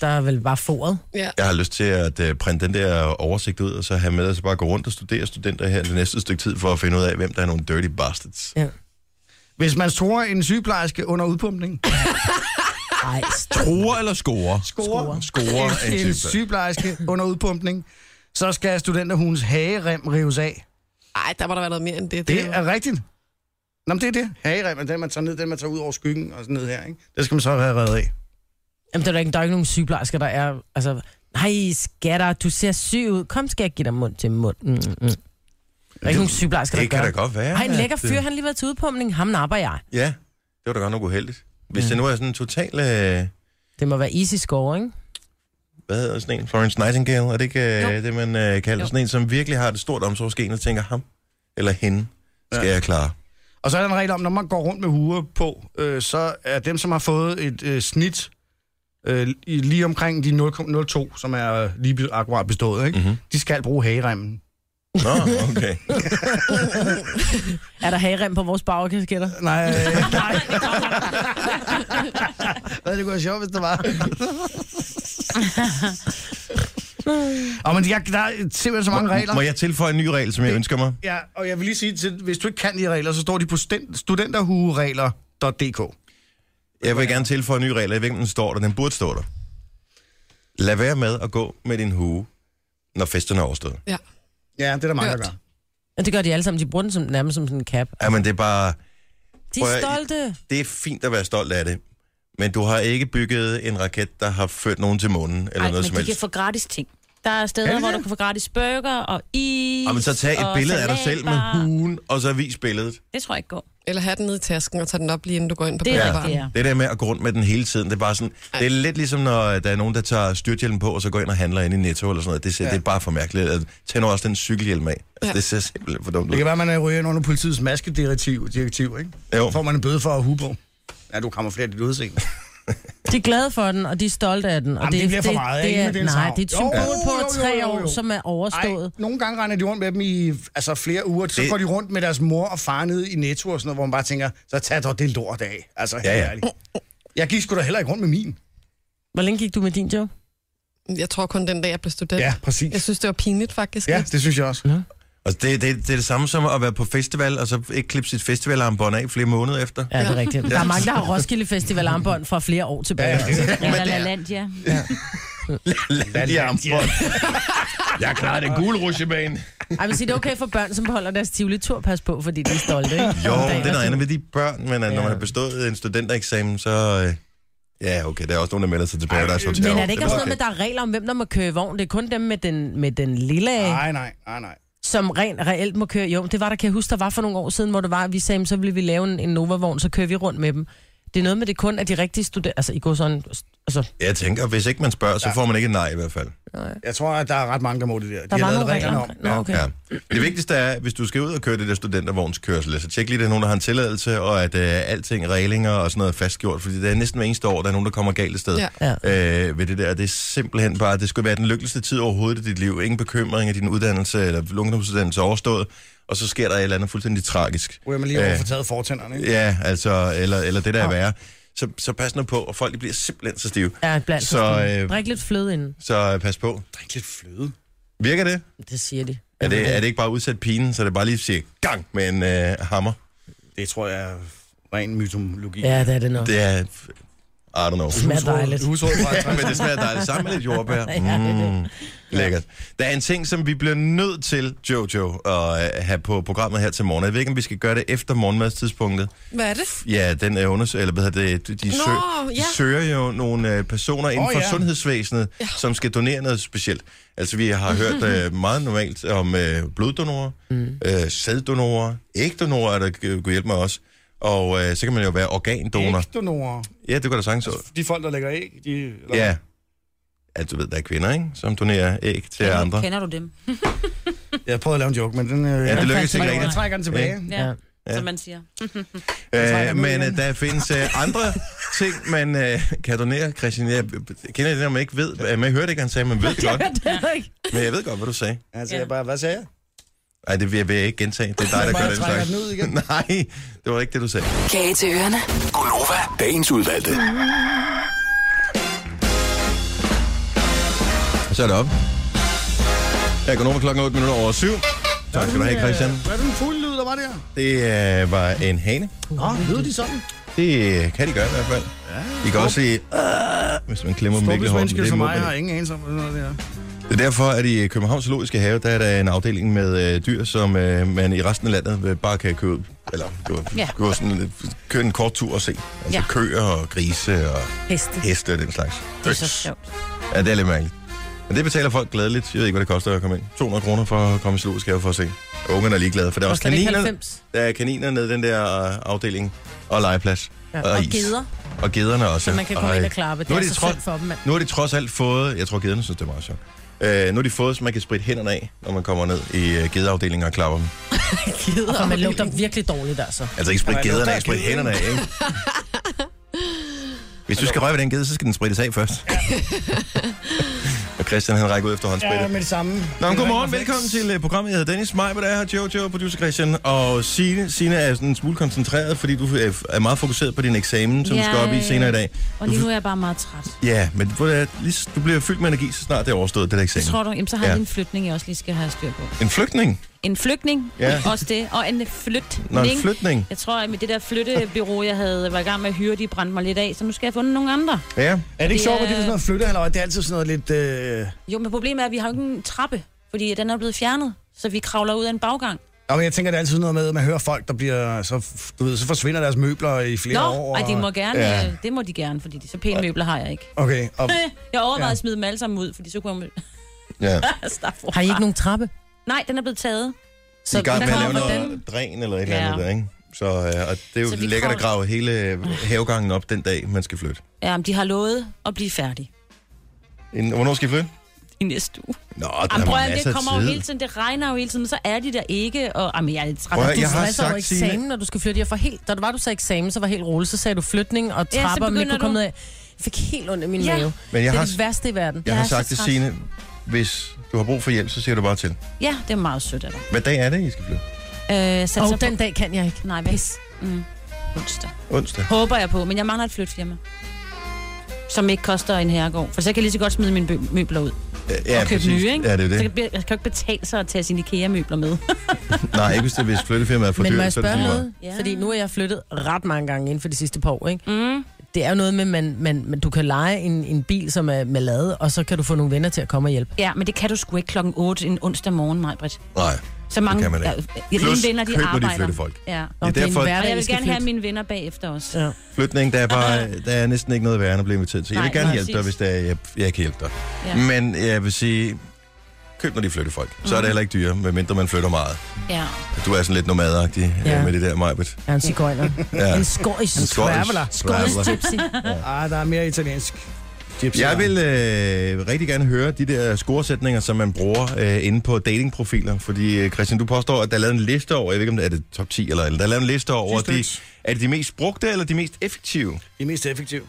Der er vel bare foret. Ja. Jeg har lyst til at uh, printe den der oversigt ud, og så have med, og så bare gå rundt og studere studenter her det næste stykke tid, for at finde ud af, hvem der er nogle dirty bastards. Ja. Hvis man tror en sygeplejerske under udpumpning, Ej, Truer eller scorer? scorer Scorer en en type. sygeplejerske under udpumpning, så skal studenterhugens hagerem rives af. Ej, der må der være noget mere end det. Det jo- er rigtigt. Nå, men det er det. Hagerem er den, man tager ned, den man tager ud over skyggen og sådan ned her, ikke? Det skal man så have reddet af. Jamen, der er, da ikke, der er ikke nogen sygeplejersker, der er... Altså, nej, skatter, du ser syg ud. Kom, skal jeg give dig mund til mund. Mm, mm. Der er ikke nogen sygeplejersker, der Det kan gør da det. godt være. Ej, en lækker at, fyr, han har lige været til udpumpning. Ham napper jeg. øh, Ja, det var da godt nok uheldigt. Hvis det nu er sådan en total... Øh, Det må være easy score, ikke? hvad hedder sådan en? Florence Nightingale? Er det ikke øh, det, man øh, kalder Jo. sådan en, som virkelig har et stort omsorgsgen og tænker, ham eller hende skal jeg klare? Og så er der en regel om, når man går rundt med huer på, øh, så er dem, som har fået et øh, snit øh, i- Mhm. lige omkring de 0,02, som er øh, lige be- akkurat bestået, ikke? Mm-hmm. de skal bruge hageremmen. Nå, okay. Er der hagerem på vores bagkasketter? Nej, nej. Hvad det kunne være sjovt, hvis der var. og men jeg, der er simpelthen så mange regler. Må jeg tilføje en ny regel, som jeg ønsker mig? Ja, og jeg vil lige sige, til, hvis du ikke kan de regler, så står de på sten- studenterhueregler.dk. Jeg vil gerne tilføje en ny regel. Jeg ved ikke, om den står der. Den burde stå der. Lad være med at gå med din hue, når festen er overstået. Ja. Ja, det er der mange, der Hørt. gør. Og det gør de alle sammen. De bruger den som, nærmest som sådan en cap. Jamen, det er bare... De Prøv er at- stolte. Det er fint at være stolt af det. Men du har ikke bygget en raket, der har ført nogen til månen, eller Ej, Ej, noget som men de kan helst. få gratis ting. Der er steder, Er det hvor det? du kan få gratis burger og is Jamen, så tag et og billede af dig selv med salatbar. huen, og så vis billedet. Det tror jeg ikke går. Eller have den ned i tasken og tage den op lige inden du går ind på Det er badebaren. rigtigt, ja. Det der med at gå rundt med den hele tiden, det er bare sådan... Det er lidt ligesom, når der er nogen, der tager styrthjelmen på, og så går ind og handler ind i Netto eller sådan noget. Det, ser, ja. det er bare for mærkeligt. Altså, Tag nu også den cykelhjelm af. Altså, Ja. Det ser simpelthen for dumt Det ud. kan være, man er ryger ind under politiets maskedirektiv, direktiv, ikke? Jo. Så får man en bøde for at hue på. Ja, du kommer flere dit udseende. De er glade for den, og de er stolte af den. Og Jamen, det bliver for meget, det, ikke? det er, Men det er en Nej, savn. det er Jo, et symbol på jo, jo, tre jo, år, jo. som er overstået. nogle gange render de rundt med dem i altså, flere uger, så Det- går de rundt med deres mor og far ned i Netto og sådan noget, hvor man bare tænker, så tag dog det lort af. Altså, helt Ja, ja. ærligt. Jeg gik sgu da heller ikke rundt med min. Hvor længe gik du med din, Joe? Jeg tror kun den dag, jeg blev student. Ja, præcis. Jeg synes, det var pinligt faktisk. Ja, det synes jeg også. Og Altså, det, det, det er det samme som at være på festival, og så ikke klippe sit festivalarmbånd af flere måneder efter. Ja, det er rigtigt. Der er mange, der har Roskilde Festival armbånd fra flere år tilbage. Ja, ja. Ja, der er land, ja. Lad de armbånd. Jeg klarer den gule rutsjebane. Ej, men sig, det er okay for børn, som beholder deres tivoli tur, pas på, fordi de er stolte, ikke? Jo, det Om dagen er og noget sådan. andet med de børn, men ja. når man har bestået en studentereksamen, så... Øh, ja, okay, der er også nogen, der melder sig til Paradise Hotel. Men er det ikke også noget med, okay. at der er regler om, hvem der må køre vogn? Det er kun dem med den, med den lille, af, Nej, nej, nej, nej. som rent reelt må køre. Jo, det var der, kan jeg huske, der var for nogle år siden, hvor det var, at vi sagde, "Men så ville vi lave en, en Nova-vogn, så kører vi rundt med dem. Det er noget med det kun, at de rigtige studerende... Altså, I går sådan... Altså, Jeg tænker, hvis ikke man spørger, så får man ikke et nej i hvert fald. Jeg tror, at der er ret mange, der må det der. der de var har nogle lavet regler. reglerne om. Nå, okay. Ja. Det vigtigste er, hvis du skal ud og køre det der studentervognskørsel, så tjek lige, at der er nogen, der har en tilladelse, og at øh, alting, reglinger og sådan noget er fastgjort, fordi det er næsten hver eneste år, der er nogen, der kommer galt af sted Ja. ja. øh, ved det der. Det er simpelthen bare, det skulle være den lykkeligste tid overhovedet i dit liv. Ingen bekymring af din uddannelse eller ungdomsuddannelse er overstået, og så sker der et eller andet fuldstændig tragisk. Ryger man lige over Øh. for taget fortænderne, ikke? Ja, altså, eller, eller det der er værre. Så, så pas nu på, og folk de bliver simpelthen så stive. Ja, blandt Så, så, øh, øh... Drik lidt fløde inden, Så øh, pas på. Drik lidt fløde. Virker det? det siger de. Er det, er det ikke bare udsat pinen, så det bare lige siger gang med en øh, hammer? Det tror jeg er ren mytologi. Ja, det er det nok. Det Det er... I don't know. smager dejligt. Husråd fra Ja, men det smager dejligt sammen med lidt jordbær. Mm, lækkert. Der er en ting, som vi bliver nødt til, Jojo, at øh, have på programmet her til morgen. Jeg ved ikke, om vi skal gøre det efter morgenmadstidspunktet. Hvad er det? Ja, den øh, undersøger, eller hvad hedder det, de, de, Nå, søg, ja. de søger jo nogle øh, personer inden Åh, for ja. sundhedsvæsenet, som skal donere noget specielt. Altså, vi har hørt øh, meget normalt om øh, bloddonorer, mm. øh, sæddonorer, ægdonorer, der øh, kunne hjælpe mig også. Og øh, så kan man jo være organdonor. Ægdonorer. Ja, det går da sagtens. Altså, De folk, der lægger æg, de... Eller... Ja. Ja, du ved, der er kvinder, ikke? Som donerer æg til Kender- andre. Kender du dem, Jeg prøvede at lave en joke, men den... Øh, Ja, det jeg, lykkedes ikke trækker, jeg rigtigt. trækker den tilbage. Ja. ja, Ja. Ja. ja. som man siger. Øh, trækker den ud men øh, igen. der findes øh, andre ting, man øh, kan donere. Christian, jeg kender det, når man ikke ved. Øh, Men jeg hørte ikke, han sagde, man ved det godt. Men jeg ved godt, hvad du sagde. Altså, Ja. jeg bare, hvad sagde jeg? Nej, det vil jeg, vil jeg ikke gentage. Det er dig, der bare gør den trækker slags. den ud igen. Nej, det var ikke det, du sagde. Kage til ørerne. Gunova, dagens udvalgte. Så er det op. Jeg går nu med klokken 8 minutter over 7. Tak skal du have, Christian. Hvad er den fulde lyd, der var der? Det øh, var en hane. Nå, lød de sådan? Det øh, kan de gøre i hvert fald. I kan også sige, "Ah", hvis man klemmer dem virkelig hårdt. men Fokus mennesker det som må mig man har ingen anelse om, hvad sådan noget det er. Det er derfor, at i Københavns Zoologiske Have, der er der en afdeling med øh, dyr, som øh, man i resten af landet øh, bare kan købe. Eller du, ja. Ja. gå sådan, lidt- køre en kort tur og se. Altså ja. Ja. køer og grise og Heste. heste og den slags. Det er så sjovt. Ja, det er lidt mærkeligt. Men det betaler folk glædeligt. Jeg ved ikke, hvad det koster at komme ind. 200 kroner for at komme i Zoologisk Have for at se. Og Ungerne er ligeglade, for der er også Koster det ikke kaniner, 90? der er kaniner nede i den der øh, afdeling. Og legeplads. Ja. Og, Og is. geder. Og gederne også. Så man kan komme Ej. ind og klappe. Det Nu er, er er de så trådt- synd for dem, mand. Nu har de trods alt fået, jeg tror gederne synes, det er meget sjovt. Øh, nu har de fået, så man kan spritte hænderne af, når man kommer ned i øh, gedeafdelingen og klapper dem. Og man lugter virkelig dårligt, altså. Altså ikke spritte Ja, gederne der af, er spritte geder. hænderne af, ikke? Hvis du skal røre ved den ged, så skal den sprittes af først. og Christian, han rækker ud efter Ja, håndsprittet. med det samme. Nå, men Det er godmorgen. rigtig Velkommen kompleks. til øh, programmet. Jeg hedder Dennis Majber, der er her. Jojo, producer Christian. Og Signe, Signe er sådan en smule koncentreret, fordi du øh, er meget fokuseret på din eksamen, som du skal op i Ja. senere i dag. Og Du- lige nu er jeg bare meget træt. Ja, men hvor er, lige, s- du bliver fyldt med energi, så snart det er overstået, det der eksamen. Tror du, jamen, så har jeg Ja. lige en flytning, jeg også lige skal have styr på. En flygtning? En flygtning, Ja. ja. også det, og en flytning. Nå, en flytning. Jeg tror, at med det der flyttebyrå, jeg havde var i gang med at hyre, de brændte mig lidt af, så nu skal jeg finde nogle andre. Ja. Er det ikke Det sjovt, at det er er- sådan noget flyttehalløj? Det er altid sådan noget lidt... Øh... Jo, men problemet er, at vi har jo ikke en trappe, fordi den er blevet fjernet, så vi kravler ud af en baggang. Nå, men jeg tænker, det er altid sådan noget med, at man hører folk, der bliver... Så, f- du ved, så forsvinder deres møbler i flere Nå, år. ej, de må og- gerne, Ja. ja. det må de gerne, fordi de så pæne møbler har jeg ikke. Øh, Okay, og... Jeg overvejede Ja. ja. at smide dem alle sammen ud, fordi så kunne jeg ja. starte forfra. Har I ikke nogen trappe? Nej, den er blevet taget. Så I er i gang vi med at lave kommer noget dræn eller et eller Ja. andet der, ikke? Så, øh, og det er jo Så vi lækkert at kommer- grave hele øh, havegangen op den dag, man skal flytte. Ja, men de har lovet at blive færdige En, hvornår skal I flytte? i næste uge. Nå, der Jamen, er prøv at, masser det kommer jo af hele tid. tiden, det regner jo hele tiden, men så er de der ikke, og jamen, jeg er lidt træt. Prøv at af høre, det. jeg har Jeg har sagt Signe- jo eksamen, når du skal flytte. Jeg får helt, da det var, du sagde eksamen, så var jeg helt rolig. Så sagde du flytning og så trapper, ja, men jeg begynder kunne komme du. ned af. Jeg fik helt ondt i min Ja. mave. Men jeg det er har, det værste i verden. jeg har er så sagt til træt. Signe, hvis du har brug for hjælp, så siger du bare til. Ja, det er meget sødt af dig. Hvad dag er det, I skal flytte? Øh, sat Og sig den dag kan jeg ikke. på. Nej, hvad? Pis. Mm. Onsdag. Onsdag. Håber jeg på, men jeg mangler et flytfirma. Som ikke koster en herregård. For så kan jeg lige så godt smide mine bø- møbler ud. Ja, og købe præcis. nye, ikke? Ja, det er Så kan det. jeg, blive- jeg kan jo ikke betale sig at tage sine IKEA-møbler med. Nej, ikke hvis, det, hvis flyttefirmaet er for Men må dyrt, jeg så er det spørge lige meget. noget? Ja. Fordi nu er jeg flyttet ret mange gange inden for de sidste par år, ikke? Mm. Det er jo noget med, man, man, man, du kan lege en, en bil, som er med lade, og så kan du få nogle venner til at komme og hjælpe. Ja, men det kan du sgu ikke klokken 8 en onsdag morgen, Majbrit. Nej. Så mange kan man ikke. Ja, øh, Plus, mine venner, de køb, når de arbejder. flytter folk. Ja. Nå, Det er derfor- en Og hverdag, jeg I vil skal gerne have flytte. mine venner bagefter os. Ja. Flytning, der er, bare, der er næsten ikke noget værre end at blive inviteret til. Jeg vil Nej, gerne hjælpe præcis. dig, hvis det er, jeg, jeg kan hjælpe dig. Ja. Ja. Men jeg vil sige, køb når de flytter folk. Så er det heller ikke dyre, medmindre man flytter meget. Ja. Du er sådan lidt nomadagtig Ja. ja. med det der, Majbet. Jeg er en cigøjner. Ja. En skorisk. En skotsk traveler. Skorisk traveler. gypsy. Ah, der er mere italiensk. Gypsy. Jeg vil øh, rigtig gerne høre de der scoresætninger, som man bruger øh, inde på datingprofiler. Fordi øh, Christian, du påstår, at der er lavet en liste over, jeg ved ikke om det er det top 10 eller, eller der er lavet en liste over, de, styks. er det de mest brugte eller de mest effektive? De er mest effektive.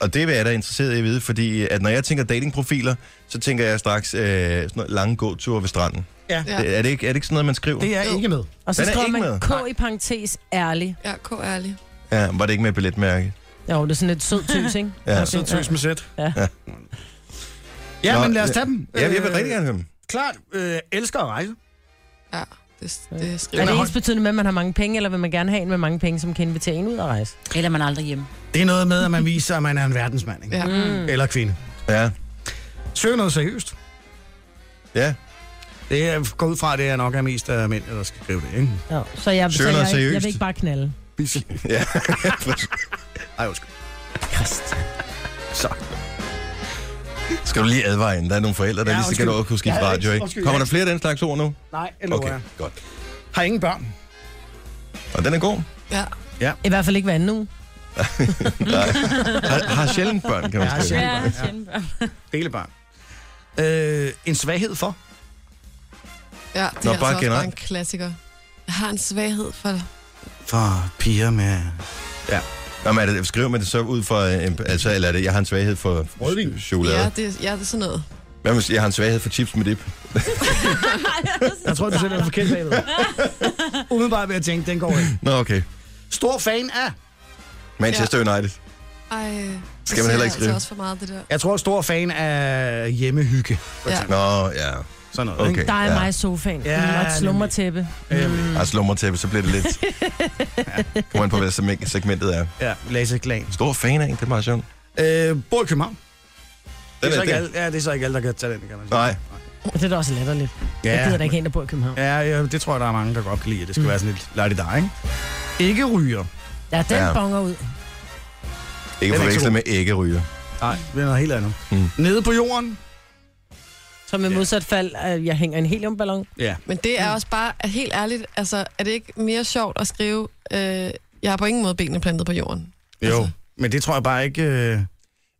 Og det er jeg da interesseret i at vide, fordi at når jeg tænker datingprofiler, så tænker jeg straks øh, sådan noget lange gåture ved stranden. Ja. Ja. Er, det ikke, er det ikke sådan noget, man skriver? Det er Jo. ikke med. Og så Den er skriver ikke man K i parentes ærlig. Ja, k ærlig. Ja, var det ikke med billetmærke? Jo, det er sådan lidt sød tøs, ikke? Altså, Ja. Så tøs med sæt. Ja. Ja, Nå, men lad os tage dem. Ja, jeg vil Øh, rigtig gerne høre dem. Klart, øh, elsker at rejse. Ja, det, det Er skriver det jeg. ens betydende med, at man har mange penge, eller vil man gerne have en med mange penge, som kan invitere en ud og rejse? Eller man er aldrig hjemme. Det er noget med, at man viser, at man er en verdensmand, ikke? Ja. Mm. Eller kvinde. Ja, Søg noget seriøst. ja. Det er, går ud fra, at det er nok er mest af mænd, der skal skrive det, ikke? Jo, så jeg, så Søger noget jeg, jeg, jeg seriøst. vil ikke bare knalde. ja. Ej, undskyld. Christ. Så. Skal du lige advare inden? Der er nogle forældre, der Ja, ja, lige så kan undskyld. du også kunne skifte Ja, radio, ikke? undskyld, Kommer ja. der flere af den slags ord nu? Nej, jeg lover Okay, okay. godt. Har ingen børn. Og den er god. Ja. I hvert fald ikke hver anden uge. Nej. Har, har sjældent børn, kan man Ja, ja, sige. sjældent. Ja, Ja. Dele børn. Øh, en svaghed for? Ja, det Nå, er bare altså også generelt. bare en klassiker. Jeg har en svaghed for dig. For piger med... Nå, men er det, skriver man det så ud fra... øh, Altså, eller er det, jeg har en svaghed for Rødvin. ch- Ja, chokolade? det, ja, det er sådan noget. Hvad med, jeg har en svaghed for chips med dip? Jeg tror, du sætter den forkert bagved. Umiddelbart vil jeg tænke, den går ikke. Nå, okay. Stor fan af? Manchester United. Ej, det Skal man ser heller jeg ikke skrive. Altså også for meget, det der. Jeg tror, stor fan af hjemmehygge. Ja. Nå, ja. Sådan noget, Okay. ikke? Der er ja. ja. mig i sofaen. Ja, Ja, og et nemlig. slummertæppe. Øh, Ej, slummer tæppe, så bliver det lidt... ja. Kommer an på, hvad segment- segmentet er. ja, Lasse Klan. Stor fan af en, det er meget sjovt. Øh, bor i København. Det Den er, så er ikke det. alle, ja, det er så ikke alle, der kan tage den, kan man sige. Nej. Det er da også latterligt. Ja. Jeg gider da ikke hen, der bor i København. Ja, ja, det tror jeg, der er mange, der godt kan lide. at Det skal mm. være sådan lidt lejligt der, ikke? Ikke ryger. Ja, den Ja. ja. bonger ud. Ikke Den er ikke så forvekslet med æggeryger. Nej, det er noget helt andet. Mm. Nede på jorden. Som i modsat fald, at jeg hænger en heliumballon. Ja. Men det Mm. er også bare, at helt ærligt, altså, er det ikke mere sjovt at skrive, øh, jeg har på ingen måde benene plantet på jorden? Jo, Altså. men det tror jeg bare ikke... Øh...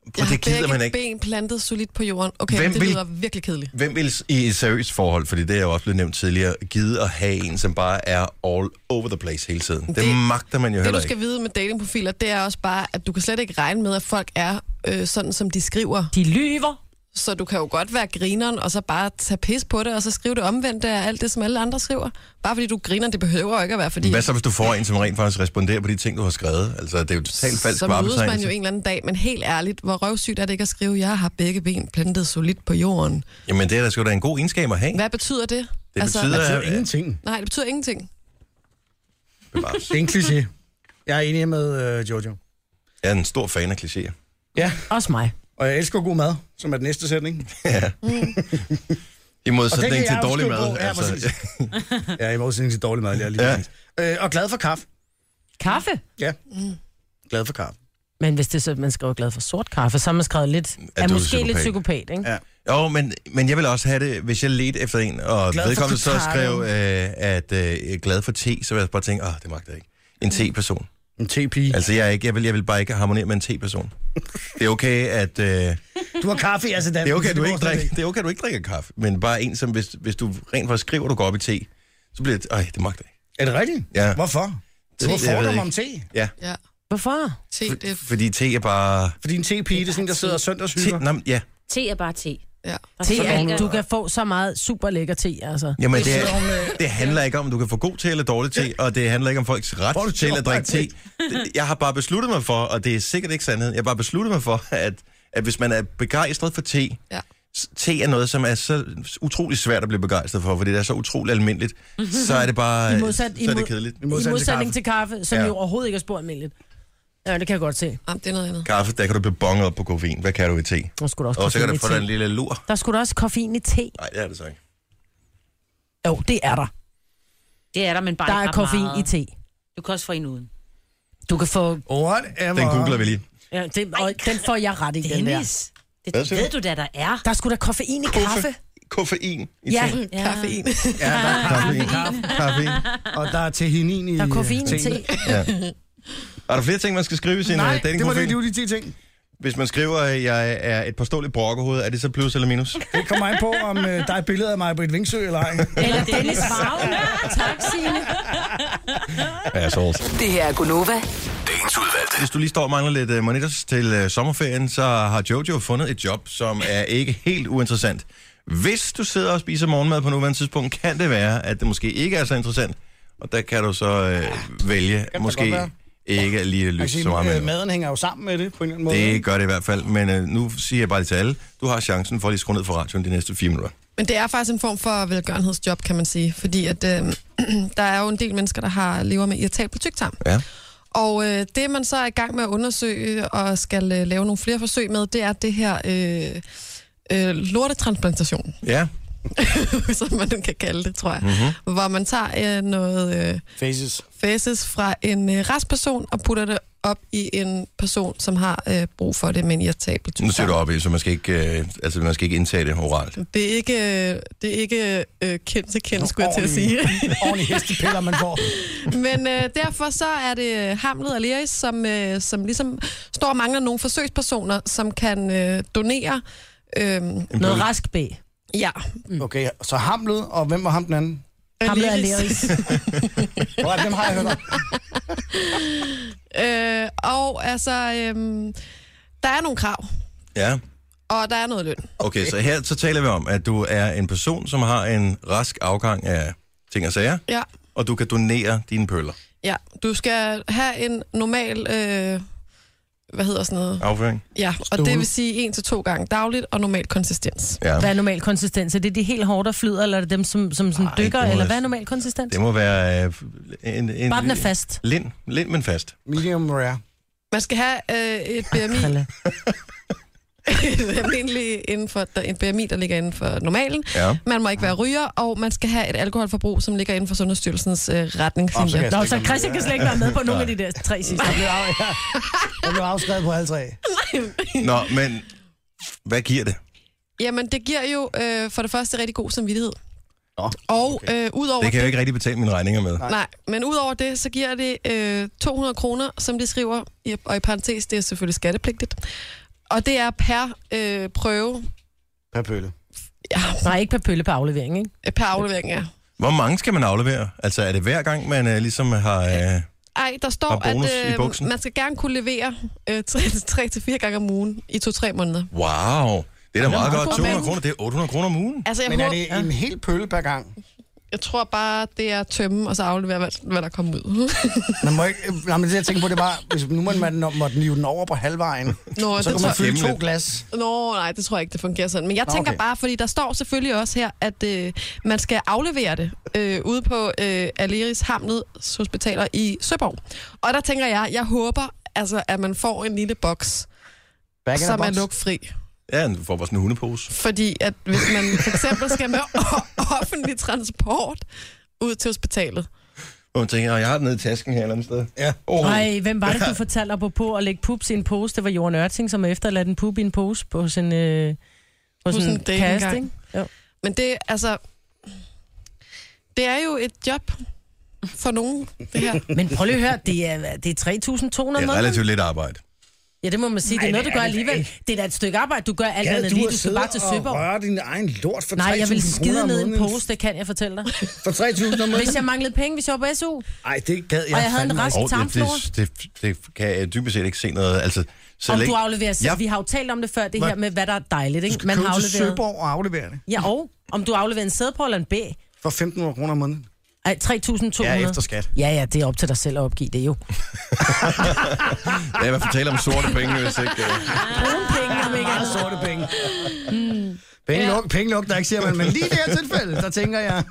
Og Jeg det har gider begge man ikke. ben plantet solidt på jorden. Okay, Hvem Hvem det vil- lyder virkelig kedeligt. Hvem vil s- i et seriøst forhold, fordi det er jo også blevet nævnt tidligere, gide at have en, som bare er all over the place hele tiden? Det, det Det- magter man jo Det, heller du ikke. skal vide med datingprofiler, det er også bare, at du kan slet ikke regne med, at folk er øh, sådan, som de skriver. De lyver. Så du kan jo godt være grineren, og så bare tage pis på det, og så skrive det omvendt af alt det, som alle andre skriver. Bare fordi du griner, det behøver jo ikke at være, fordi... Hvad så, hvis du får en, som rent faktisk responderer på de ting, du har skrevet? Altså, det er jo totalt falsk så mødes man jo varebetegnelse. en eller anden dag, men helt ærligt, hvor røvsygt er det ikke at skrive, jeg har begge ben plantet solidt på jorden. Jamen, det er da sgu da en god egenskab at have. Hvad betyder det? Altså, Det betyder, Det er jo at- ingenting. Nej, det betyder ingenting. Bevares. Det er en kliché. Jeg er enig med øh, Jojo. Jeg er en stor fan af klichéer. Ja, Også mig. og jeg elsker god mad, som er den næste sætning. I kan modsætning til jeg jo dårlig skrive mad. altså- på. Ja, præcis. Ja, i modsætning til dårlig mad, det er lige Ja. altså. ja. øh, Og glad for kaffe. Kaffe? Ja, glad for kaffe. Men hvis det er så, at man skriver glad for sort kaffe, så har man skrevet lidt... Er Er, du måske psykopat? lidt psykopat, ikke? Ja. Ja. Jo, men, men jeg vil også have det, hvis jeg ledte efter en, og Glad glad for vedkommende så Cortado. skrev, øh, at øh, jeg er glad for te, så vil jeg bare tænke, åh, det magter jeg ikke. Mm. En te-person. En tepige. Altså, jeg, er ikke, jeg, vil, jeg vil bare ikke harmonere med en te-person. Det er okay, at... Øh, Du har kaffe, altså Dan. Det er okay, du ikke drikker, det er okay, du ikke drikker kaffe, men bare en, som hvis, hvis du rent faktisk skriver, du går op i te, så bliver det, ej, det magter jeg ikke. Er det rigtigt? Ja. Hvorfor? Du har Det- jeg ved fordomme ikke. om te. Ja, Ja, Hvorfor? se det. fordi te er bare... Fordi en tepige, det er sådan, der sidder og Te, søndagshygger. nej, men ja, Te er bare te. Ja. Der Te skal er, ikke- du kan få så meget super lækker te, altså. jamen det, sidder er, hun med- det handler ikke om, du kan få god te eller dårlig te, og det handler ikke om folks Får du ret til te? at drikke te. Det- Jeg har bare besluttet mig for, og det er sikkert ikke sandheden, jeg har bare besluttet mig for, at, at hvis man er begejstret for te, Ja. s- te er noget, som er så utrolig svært at blive begejstret for, fordi det er så utroligt almindeligt, så er det bare I modsat- så er imod- det kedeligt. I I modsætning til modsætning til kaffe, som Ja. ja. jo overhovedet ikke er spor almindeligt. Ja, det kan jeg godt se. Jamen, det er noget andet. Kaffe, der kan du blive bonget op på koffein. Hvad kan du i te? Der skulle der også Og så kan koffein du i få dig en te. lille lur. Der skulle der også koffein i te. Nej, det er det så ikke. Jo, det er der. Det er der, men bare Der ikke er ret koffein i meget. te. Du kan også få en uden. Du kan få... Whatever. Den googler vi lige. Ja, det, og den får jeg ret i, den der. Dennis, det Hvad siger ved du da, der er. Der skulle da koffein i kaffe. Koffein i Ja, te. Ja. Kaffein. Ja, der er Koffein. kaffe, Koffein. og der er tehinin i der er koffein i teen. te. Ja. Er der flere ting, man skal skrive i sin Nej, øh, det var det, datingprofil? det var de 10 ting. Hvis man skriver, at jeg er et påståeligt brokkerhoved, er det så plus eller minus? Det kommer an på, om øh, der er et billede af mig på et vingsø eller ej. Eller Dennis Farve. Tak, Signe. Assholes. Det her er Gunova. Dagens udvalgte. Hvis du lige står og mangler lidt uh, monitors til uh, sommerferien, så har Jojo fundet et job, som er ikke helt uinteressant. Hvis du sidder og spiser morgenmad på nuværende tidspunkt, kan det være, at det måske ikke er så interessant. Og der kan du så uh, vælge, da godt måske være. ikke lige at Jeg kan lytte sige, så meget med. øh, maden hænger jo sammen med det på en eller anden måde. Det gør det i hvert fald, men øh, nu siger jeg bare lige til alle, du har chancen for at lige skrue ned for radioen de næste fire minutter. Men det er faktisk en form for velgørenhedsjob, kan man sige. Fordi at, øh, der er jo en del mennesker, der har lever med irritabel tygtarm. Ja. Og øh, det, man så er i gang med at undersøge og skal øh, lave nogle flere forsøg med, det er det her øh, øh, lortetransplantation, Ja, som man kan kalde det, tror jeg. Mm-hmm. Hvor man tager øh, noget øh, Faces. faces fra en øh, restperson og putter det op i en person, som har øh, brug for det med en irritabel nu ser tygtarm. du op i, så man skal ikke, øh, altså, man skal ikke indtage det oralt. Det er ikke, øh, det er ikke øh, kendt til kendt, skulle jeg til at sige. Ordentlige- Ordentlige hestepiller, man får. Men øh, derfor så er det øh, Hamlet og Leris, som, øh, som ligesom står og mangler nogle forsøgspersoner, som kan øh, donere. Øh, Noget rask bag. ja, Okay, så Hamlet, og hvem var ham den anden? Hamlet og Leris. Aleris. Hvor er det, dem har jeg hørt om. Øh, og altså, øh, der er nogle krav, Ja, og der er noget løn. okay, så her så taler vi om, at du er en person, som har en rask afgang af ting og sager, Ja, og du kan donere dine pøller. ja. Du skal have en normal, øh, hvad hedder sådan noget? Afføring? Ja, og det vil sige en til to gange dagligt og normal konsistens. Ja. Hvad er normal konsistens? Er det de helt hårde, der flyder, eller er det dem, som, som sådan Nej, dykker? det må Eller jeg- hvad er normal konsistens? Det må være øh, en... en Bare den er fast. Lind, lind, men fast. Medium rare. Man skal have øh, et BMI Krille. almindelig inden for der, en BMI, der ligger inden for normalen. Ja. Man må ikke være ryger, og man skal have et alkoholforbrug, som ligger inden for Sundhedsstyrelsens øh, Og så kan retningslinjer. jeg Nå, slet så ikke- Christian kan slet ikke være med på nogle af de der tre sidste. Jeg blev af- ja. Jeg blev afskrevet på alle tre. Nå, men hvad giver det? Jamen, det giver jo øh, for det første rigtig god samvittighed. Nå, Og øh, udover Det det, kan jeg jo ikke rigtig betale mine regninger med. nej, men udover det, så giver det øh, 200 kroner, som de skriver, i- og i parentes, det er selvfølgelig skattepligtigt. Og det er per øh, prøve, Per pølle. ja, Nej, ikke per pølle på aflevering, ikke? per aflevering, ja. Hvor mange skal man aflevere? Altså, er det hver gang, man øh, ligesom har... Øh, Ej, der Og står, bonus i at buksen. øh, man skal gerne kunne levere øh, 3-4 gange om ugen i 2-3 måneder. wow! Det er da meget meget godt. god 200 mand. kroner, det er 800 kroner om ugen. Altså, jeg, Men er håber, det en hel pøl per gang? jeg tror bare, det er at tømme, og så aflevere, hvad, hvad der kommer ud. Man må ikke... Nej, men det jeg tænker på, det var, hvis nu man, man måtte nive den over på halvvejen, Nå, så det kan tror man jeg- fylde to Hjemme. glas. Nå, nej, det tror jeg ikke, det fungerer sådan. Men jeg Nå, tænker okay. okay. bare, fordi der står selvfølgelig også her, at øh, man skal aflevere det øh, ude på øh, Aleris Hamneds Hospitaler i Søborg. Og der tænker jeg, jeg håber, altså, at man får en lille boks, Back in som the er box. lukfri. Ja, du får vores sådan en hundepose. Fordi at hvis man for eksempel skal med o- offentlig transport ud til hospitalet, Og man tænker, "Nå, jeg har den nede i tasken her et eller andet sted. Ja. Oh. Nej, hvem var det, du fortalte op på at lægge pups i en pose? Det var Jorden Ørting, som efterladte en pup i en pose på sin, øh, på På sin, sin sin date kæreste, engang. ikke? Jo. men det altså... Det er jo et job for nogen, det her. Men prøv lige at høre, det er, det er 3.200 om Det er måneden. relativt lidt arbejde. Ja, det må man sige. det er noget, du gør alligevel. Det er da et stykke arbejde, du gør alt andet lige. Du skal bare til Søborg. røre din egen lort for 3.000 Nej, jeg kroner vil skide om ned i en måneden? pose, det kan jeg fortælle dig. For 3.000 om Hvis måneden? jeg manglede penge, hvis jeg var på SU, Ej, det gad jeg og jeg havde en fandme rest ikke. Og det, tarmflora. det, det, det, kan jeg dybest set ikke se noget. Altså, så Om længe- du afleverer selv. Ja. Vi har jo talt om det før, det Hvad? her med, hvad der er dejligt, Du ikke? skal Man har købe til afleveret... Søborg og aflevere det. Ja, og om du afleverer en sæde på eller en B. For 1.500 kroner om måneden. Ej, 3.200. Ja, efter skat. Ja, ja, det er op til dig selv at opgive det jo. Ja, i hvert fald tale om sorte penge, hvis ikke... øh. Brune penge, om ikke Meget andet. sorte penge. Mm. Penge, luk, penge lugter ikke, siger man, men lige i det her tilfælde, der tænker jeg...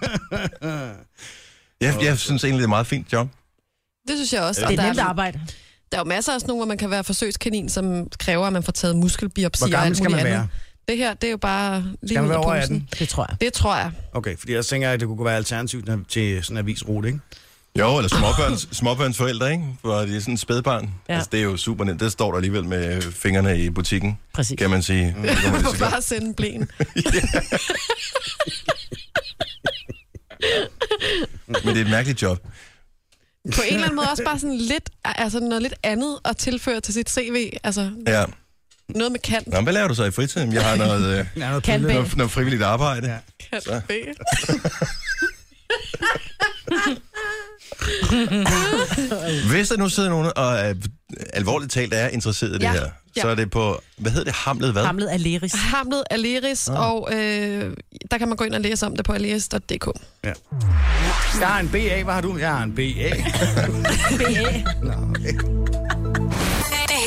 Jeg, jeg synes egentlig, det er et meget fint job. Det synes jeg også. og Det der er nemt arbejde. Der er jo masser af sådan nogle, hvor man kan være forsøgskanin, som kræver, at man får taget muskelbiopsi Hvor og gammel alt skal muligt man være? andet. Det her, det er jo bare lige Skal man ud være af over posen. 18? Det tror jeg. Det tror jeg. Okay, fordi jeg tænker, at det kunne være alternativt til sådan en avisrute, ikke? Jo, eller småbørns, småbørns forældre, ikke? Hvor de er sådan en spædbarn. Ja. Ja. Altså, det er jo super nemt. Det står der alligevel med fingrene i butikken, Præcis. kan man sige. Mm. Det kommer lige så godt. Hvorfor bare sende blæen? Men det er et mærkeligt job. På en eller anden måde også bare sådan lidt, altså noget lidt andet at tilføre til sit CV. Altså Ja. noget med kant. Nå, men hvad laver du så i fritiden? Jeg har noget, øh, Ja, noget Kan pille. bage. noget, noget frivilligt arbejde. Ja. Ja. kant B. Hvis der nu sidder nogen og øh, alvorligt talt er interesseret i det Ja. her, Ja. så er det på, hvad hedder det, Hamlet hvad? Hamlet af Leris. Hamlet Aleris, Ah. og øh, der kan man gå ind og læse om det på aleris.dk. Jeg har en BA, hvad har du? Jeg har en BA. Det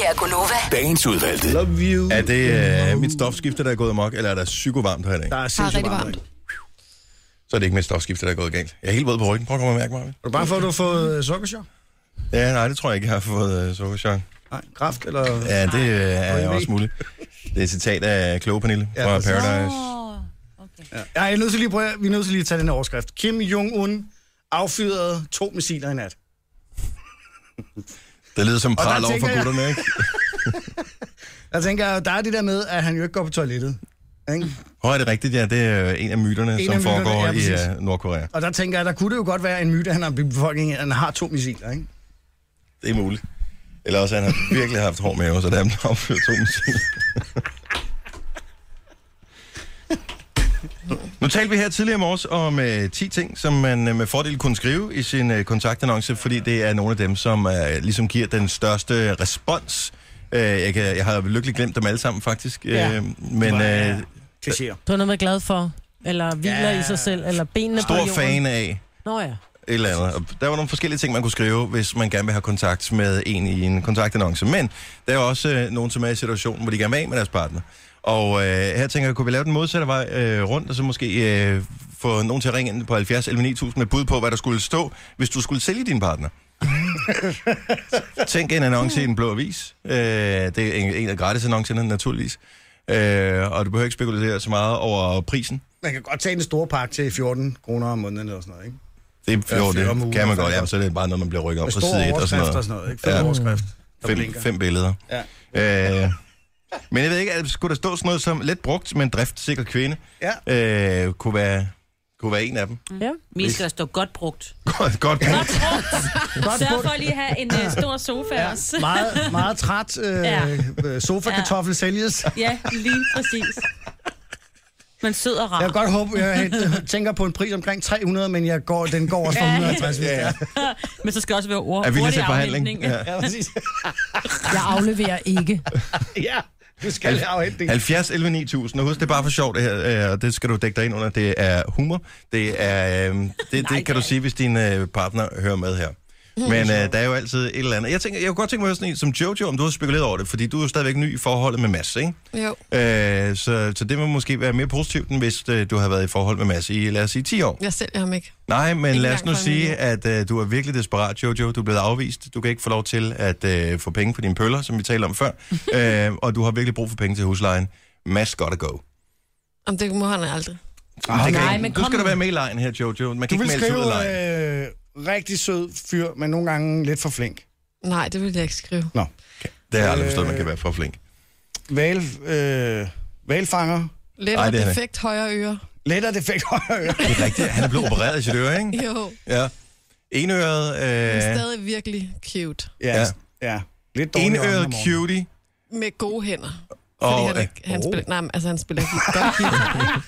her er Gunova. Dagens udvalgte. Love you. Er det øh, mit stofskifte, der er gået amok, eller er der psykovarmt her i dag? Der er Har det sindssygt rigtig varmt. varmt. Er Så er det ikke mit stofskifte, der er gået galt. Jeg er helt våd på ryggen. Prøv at komme og mærke mig. du bange for, at du har fået øh, sukkerchok? Ja, nej, det tror jeg ikke, jeg har fået øh, sukkerchok. Nej, kraft eller... Ja, det øh, er HIV. også muligt. Det er et citat af Kloge Pernille Ja, fra præcis. Paradise. Ja, jeg er nødt til lige at prøve, vi er nødt til lige at tage den her overskrift. Kim Jong-un affyrede to missiler i nat. Det lyder som der pral over for tænker jeg- gutterne, ikke? Jeg tænker, jeg, der er det der med, at han jo ikke går på toilettet. Ikke? Hvor er det rigtigt? Ja, det er øh, en af myterne, En som af myterne, foregår ja, præcis. i uh, Nordkorea. Og der tænker jeg, der kunne det jo godt være en myte, at han har befolkningen, at han har to missiler. Ikke? Det er muligt. Eller også, han har virkelig haft hård mave, så der er blevet opført to musik. Nu talte vi her tidligere i morges om øh, 10 ting, som man øh, med fordel kunne skrive i sin øh, kontaktannonce, fordi det er nogle af dem, som øh, ligesom giver den største respons. Øh, jeg, kan, jeg har lykkeligt glemt dem alle sammen, faktisk. Ja. Øh, men øh, Ja, ja. Klichéer. Du er noget, man er glad for, eller hviler Ja. i sig selv, eller benene på stor jorden. fan af Nå ja. et eller andet. Og der var nogle forskellige ting, man kunne skrive, hvis man gerne vil have kontakt med en i en kontaktannonce. Men der er jo også øh, nogen, som er i situationen, hvor de gerne vil af med deres partner. Og øh, her tænker jeg, kunne vi lave den modsatte vej øh, rundt, og så måske øh, få nogen til at ringe ind på 70 11 9000 med bud på, hvad der skulle stå, hvis du skulle sælge din partner. Tænk en annonce i den blå avis. Øh, det er en, en af gratisannoncerne, naturligvis. Øh, og du behøver ikke spekulere så meget over prisen. Man kan godt tage en stor pakke til 14 kroner om måneden eller sådan noget. Ikke? Det, jo, fem om det ugen, kan man godt. fem Ja, så er det bare noget, man bliver rykket op Med på store side 1 og sådan overskrifter noget. og sådan noget. Ikke? Fem Ja. overskrift. Der Fem, blinker. fem billeder. Ja. Øh, men jeg ved ikke, altså, skulle der stå sådan noget som let brugt, men driftsikker kvinde, ja. øh, kunne, være, kunne være en af dem. ja. Min skal der stå godt brugt. Godt, godt brugt. Godt Sørg brugt. for at lige have en øh, stor sofa ja. også. Meget, meget træt øh, Ja. ja. sofa-kartoffel sælges. Ja, lige præcis. Men sød og rar. Jeg kan godt håbe, jeg tænker på en pris omkring 300, men jeg går, den går også for Ja. 150, hvis det er. Men så skal det også være ord. Er villig hurtig til forhandling. afhentning. Ja. Ja, præcis. Jeg afleverer ikke. ja. Du skal have afhænding. 70 11 9000, og husk, det er bare for sjovt, det her, øh, og det skal du dække dig ind under. Det er humor, det, er, øh, det, det kan du sige, hvis din øh, partner hører med her. Men øh, der er jo altid et eller andet. Jeg, tænker, jeg kunne godt tænke mig at høre sådan en som Jojo, om du har spekuleret over det, fordi du er jo stadigvæk ny i forholdet med Mads, ikke? Jo. Øh, så, så det må måske være mere positivt, end hvis øh, du har været i forhold med Mads i, lad os sige, 10 år. Jeg sælger ham ikke. Nej, men lad os engang nu for en sige, at øh, du er virkelig desperat, Jojo. Du er blevet afvist. Du kan ikke få lov til at øh, få penge for dine pøller, som vi talte om før. øh, og du har virkelig brug for penge til huslejen. Mads gotta Ah, go. Om det må han aldrig. Ah, det kan nej, ikke- men du skal kom da nu. være med i lejen her, Jojo. Man Du kan ikke vil melde sig skrive ud af lejen. øh, rigtig sød fyr, men nogle gange lidt for flink. Nej, det vil jeg ikke skrive. Nå. Det har jeg aldrig forstået, man kan være for flink. Val, øh, valfanger. Lidt Nej, og det er han defekt højre øre. Lettere defekt højre øre. Det er rigtigt. Han er blevet opereret i sit øre, ikke? Jo, Ja. Enøret... men Øh, stadig virkelig cute. Ja. Ja. ja. ja. Lidt dårligere enøret om morgenen. cutie. Med gode hænder. Fordi Og, han, øh, ikke, han, spiller, oh. nej, men altså, han spiller ikke godt guitar.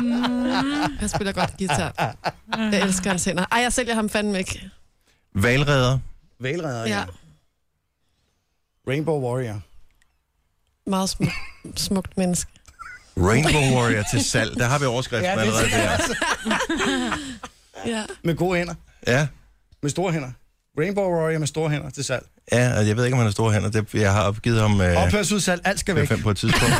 Mm, han spiller godt guitar. Jeg elsker hans hænder. Ej, jeg sælger ham fandme ikke. oh. valredder. Valredder, ja. Ja, Rainbow Warrior. meget smuk, smukt menneske. Rainbow Warrior til salg. Der har vi overskriften Ja, det allerede er der. Ja. Med gode hænder. Ja. Med store hænder. Rainbow Warrior med store hænder til salg. Ja, og jeg ved ikke, om han har store hænder. Det, jeg har opgivet ham øh, Ophørsudsalg, alt skal væk. fem på et tidspunkt.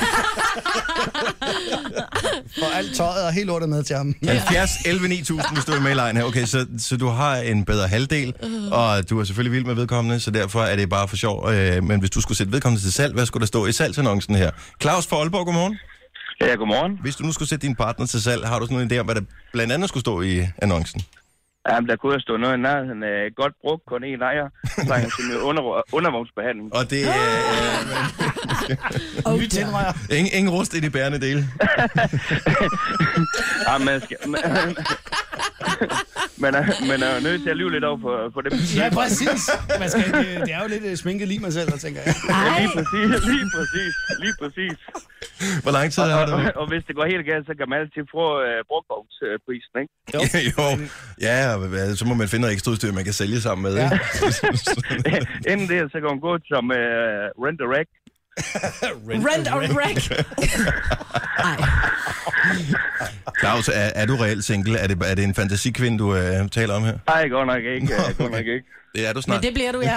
Og alt tøjet og helt lortet med til ham. 70, 11, 9000, hvis du er med i lejen her. Okay, så, så du har en bedre halvdel, og du er selvfølgelig vild med vedkommende, så derfor er det bare for sjov. Øh, men hvis du skulle sætte vedkommende til salg, hvad skulle der stå i salgsannoncen her? Claus fra Aalborg, godmorgen. Ja, godmorgen. Hvis du nu skulle sætte din partner til salg, har du sådan en idé om, hvad der blandt andet skulle stå i annoncen? Jamen, der kunne jeg stå noget i nærheden. Øh, godt brugt, kun én ejer. Så han til under, undervognsbehandling. Og det er øh, Oh, Nyt tændrør. ingen, ingen rust i de bærende dele. Ja, man, skal, man, man, er, man er jo nødt til at lyve lidt over for, for det. Ja, præcis. Man skal ikke, det er jo lidt øh, sminket lige mig selv, der tænker jeg. Lige præcis, lige præcis, lige præcis. Hvor lang tid har du? Og hvis det går helt galt, så kan man altid få øh, brugtvognsprisen, ikke? jo, ja, og hvad- så må man finde noget ekstra udstyr, man kan sælge sammen med. Ja. Inden det, så kan man gå som øh, rent a rack. Rent og wreck. Claus, er, er du reelt single? Er det, er det en fantasikvinde, du øh, taler om her? Nej, godt nok ikke. øh, Godt nok ikke. Det er du Men snart. det bliver du, ja.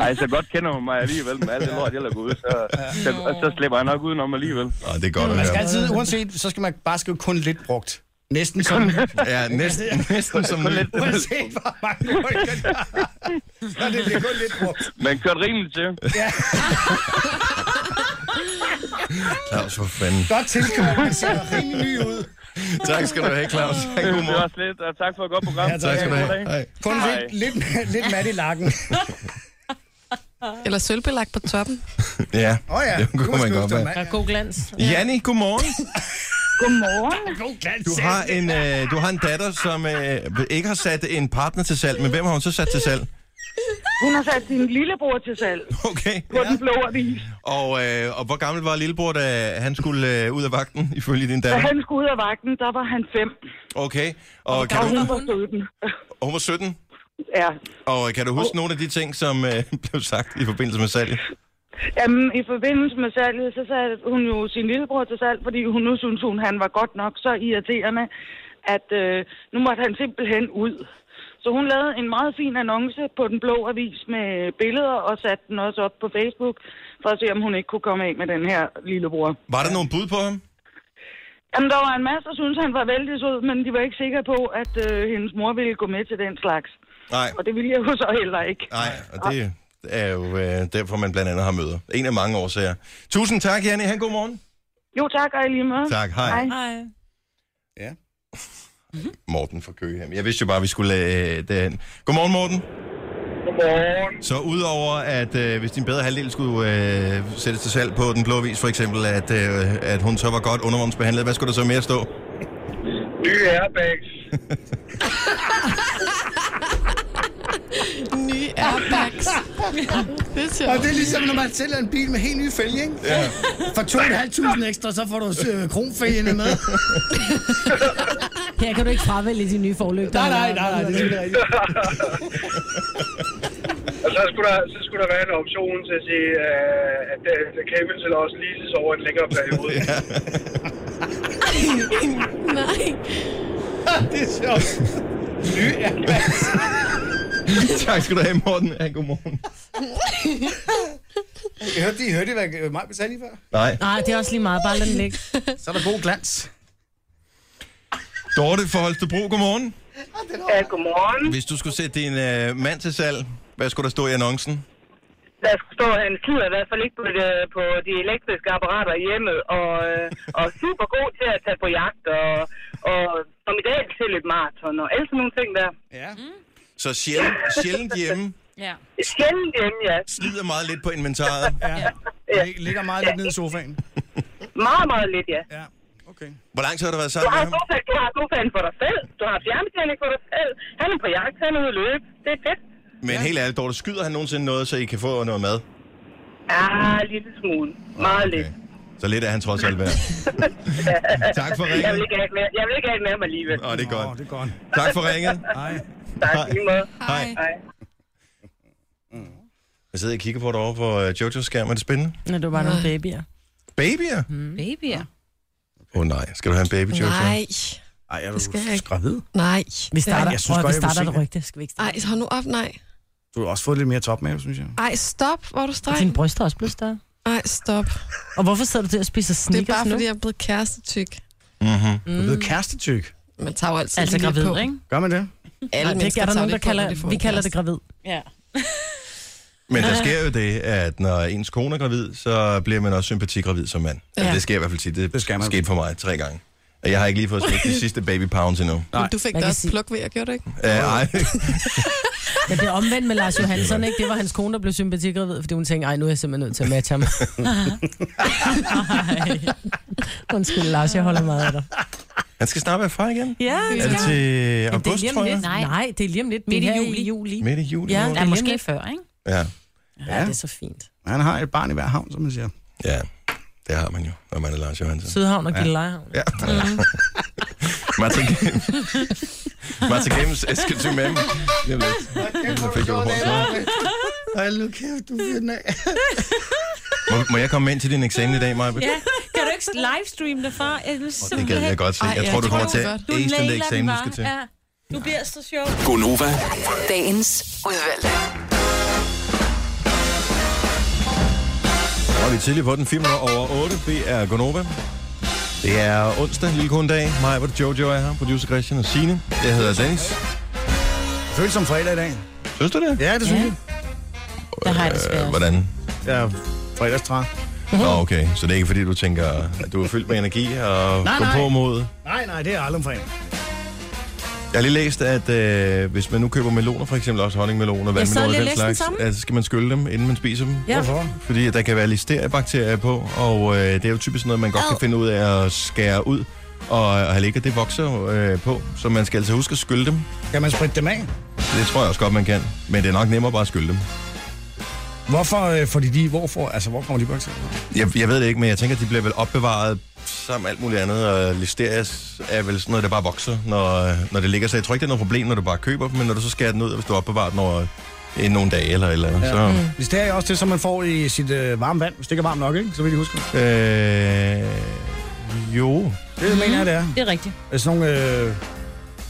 Ej, så godt kender hun mig alligevel med alt det lort, jeg lader gå ud, så, så, så slipper jeg nok udenom alligevel. Åh, det er godt at Man skal høre. altid, uanset, så skal man bare skrive kun lidt brugt. Næsten som... Ja, næsten, næsten som ny. Uanset hvor mange ord, jeg kan Ja, det bliver kun lidt brugt. Men kørt rimeligt til. Claus, for fanden. Godt tilkommet, man ser rimelig ny ud. Tak skal du have, Claus. Ha' en god Det var morgen. også lidt, og tak for et godt program. Ja, Tak skal du God have. dag. Hej. Kun lidt, lidt, lidt mat i lakken. Eller sølvbelagt på toppen. Ja, Åh ja, det kunne man godt være. Og god glans. Janni, godmorgen. Godmorgen. Du har en, øh, du har en datter, som øh, ikke har sat en partner til salg, men hvem har hun så sat til salg? Hun har sat sin lillebror til salg Okay. på den blå avis. Og, øh, og hvor gammel var lillebror, da han skulle øh, ud af vagten, ifølge din Da datter? han skulle ud af vagten, der var han fem. Okay. Og Og kan hun du, var 17. og hun var 17. Ja. Og øh, kan du huske nogle af de ting, som øh, blev sagt i forbindelse med salget? Jamen, i forbindelse med salget, så satte hun jo sin lillebror til salg, fordi hun nu syntes, hun, han var godt nok så irriterende, at øh, nu måtte han simpelthen ud. Så hun lavede en meget fin annonce på den blå avis med billeder og satte den også op på Facebook for at se, om hun ikke kunne komme af med den her lillebror. Var der nogen bud på ham? Jamen, der var en masse, der syntes, han var vældig sød, men de var ikke sikre på, at øh, hendes mor ville gå med til den slags. Nej, Og det ville jeg jo så heller ikke. nej, og det er jo øh, derfor, man blandt andet har møder. En af mange årsager. Tusind tak, Janne. Han god morgen. Jo, tak, og i lige måde. Tak, hej. Hej. Nej. Ja. Morten fra Køge. Jeg vidste jo bare, vi skulle øh, den. Godmorgen, Morten. Godmorgen. Så udover at øh, hvis din bedre halvdel skulle øh, sættes til salg på den blå vis, for eksempel, at, øh, at hun så var godt undervognsbehandlet, hvad skulle der så mere stå? Nye airbags. Nye airbags. Det ser Og det er ligesom, når man sælger en bil med helt ny fælge, ikke? Ja. For 2.500 ekstra, så får du øh, kronfælgene med. Her kan du ikke fravælge dine nye forlygter. Nej, nej, nej, nej, det er ikke rigtigt. Og så skulle, der, så skulle der være en option til at sige, øh, at uh, Kevin skal også leases over en længere periode. Ja. Nej. det er sjovt. Ny Airbags. tak skal du have, Morten. Ja, godmorgen. Hørte de, hørte de, hvad mig sagde lige før? Nej. Nej, det er også lige meget. Bare lad den ligge. Så er der god glans. Dorte fra Holstebro, godmorgen. Ja, godmorgen. Hvis du skulle sætte din øh, mand til salg, hvad skulle der stå i annoncen? Der står, at han skider i hvert fald ikke på, det, på de elektriske apparater i hjemmet, og, øh, og super god til at tage på jagt, og, og som i dag til et maraton, og alle sådan nogle ting der. Ja. Så sjældent, sjældent hjemme, Ja. Sjældent hjemme, ja. slider meget lidt på inventaret. ja. Lig- Ligger meget lidt ned i sofaen. Meget, meget lidt, ja. Ja, okay. Hvor lang tid har du været Du sammen har, med ham? sofaen, du har sofaen for dig selv, du har fjernbetjening for dig selv, han er på jagt, han er ude at løbe, det er fedt. Men helt ærligt, Dorte, skyder han nogensinde noget, så I kan få noget mad? Ja, en lille smule. Meget lidt. Så lidt er han trods alt værd. tak for Jeg vil ringet. ikke have et mere, jeg vil ikke have et mere med alligevel. Åh, oh, det er Åh, godt. det er godt. Tak for ringet. Nej. Tak, i lige måde. Hej. Hej. Jeg sidder og kigger på det over på øh, Jojo's skærm. Er det spændende? Når du var nogle babyer. Babyer? Åh mm. Babyer. oh, nej, skal du have en baby, Jojo? Nej. Ej, er skal jeg du ikke. gravid? Nej. Vi starter, jeg jeg synes synes, godt, vi jeg vil starter se et det. rygte. Skal vi ikke starte? Ej, hold nu op, nej. Du har også fået lidt mere topmave, synes jeg. Ej, stop. Hvor er du Og streng? dine bryster er også blevet større. Ej, stop. Og hvorfor sidder du til at spise Det sneakers er bare, nu? fordi jeg er blevet kærestetyk. Mm-hmm. Du er Mm. blevet kærestetyk. Man tager jo altid Altså lige lidt gravid, på. ikke? Gør man det? Alle Nej, det mennesker er der tager nogen, der lidt på, kalder, når de får vi en kalder det kæreste. gravid. Ja. Men der sker jo det, at når ens kone er gravid, så bliver man også sympatigravid som mand. Ja. Ja. Altså, det sker i hvert fald tit. Det, Det skal man. skete for mig tre gange. Og jeg har ikke lige fået smidt de sidste baby pounds endnu. Uh, Men du fik Man da kan også sige- pluk ved, jeg gjorde det ikke? ej, Men det er omvendt med Lars Johansson, ikke? Det var hans kone, der blev sympatigravid, fordi hun tænkte, ej, nu er jeg simpelthen nødt til at matche ham. Ej. Undskyld, Lars, jeg holder meget af dig. han skal snart være far igen. Ja. Er det til august, det er tror jeg? lidt. Nej. Nej, det er lige om lidt. Midt i Det er her juli. juli. Midt i juli. Ja. måned. Ja, måske Lidt. før, ikke? ja. Ja, det er så fint. Han har et barn i hver havn, som man siger. Ja, det har man jo, når man er Lars Johansen. Sydhavn og Gillelejehavn. Ja. Martin Games. Martin Games, Eske to Mem. Jeg ved Så fik du hårdt. Ej, nu kæft, du fyrer den af. Må, må jeg komme ind til din eksamen i dag, Maja? Ja. Kan du ikke livestream derfra? Jeg vil Det gad jeg godt se. Ej, Jeg ja, tror, du det kommer tror til jeg at godt. Du ace den der nailer den eksamen, du bare. skal til. Ja. Du bliver så sjov. Gonova, Dagens udvalgte. Og vi er tidligere på den, 5 over 8. Det er Gonova. Det er onsdag, lille kun dag. Maja, hvor Jojo er her, producer Christian og Signe. Jeg hedder Dennis. Føles som fredag i dag. Synes du det? Ja, det synes Ja. jeg. Der har jeg det Øh, svært. hvordan? Jeg er fredagstræ. Nå, okay. Så det er ikke, fordi du tænker, at du er fyldt med energi og Nej, går nej. på mod? Nej, nej, det er aldrig om fredag. Jeg har lige læst, at øh, hvis man nu køber meloner, for eksempel også honningmeloner, Jeg sad vandmeloner og lige og den læste den slags, samme. altså, så skal man skylle dem, inden man spiser dem. Ja. Hvorfor? Fordi at der kan være listeriebakterier på, og øh, det er jo typisk noget, man godt kan finde ud af at skære ud og, og have ligget. Det vokser jo, øh, på, så man skal altså huske at skylle dem. Kan man spritte dem af? Det tror jeg også godt, man kan. Men det er nok nemmere bare at skylle dem. Hvorfor øh, får de de, hvorfor, altså hvor kommer de bakterier? fra? Jeg, jeg ved det ikke, men jeg tænker, at de bliver vel opbevaret sammen med alt muligt andet, og listerias er vel sådan noget, der bare vokser, når, når det ligger. Så jeg tror ikke, det er noget problem, når du bare køber dem, men når du så skærer den ud, og hvis du opbevarer den over øh, nogle dage eller et eller andet, ja. så... Mm. Hvis det er jo også det, som man får i sit øh, varme vand, hvis det ikke er varmt nok, ikke? så vil de huske Mm. det. Øh, jo. Det mm. mener jeg, det er. Det er rigtigt. Øh, Sådan nogle øh,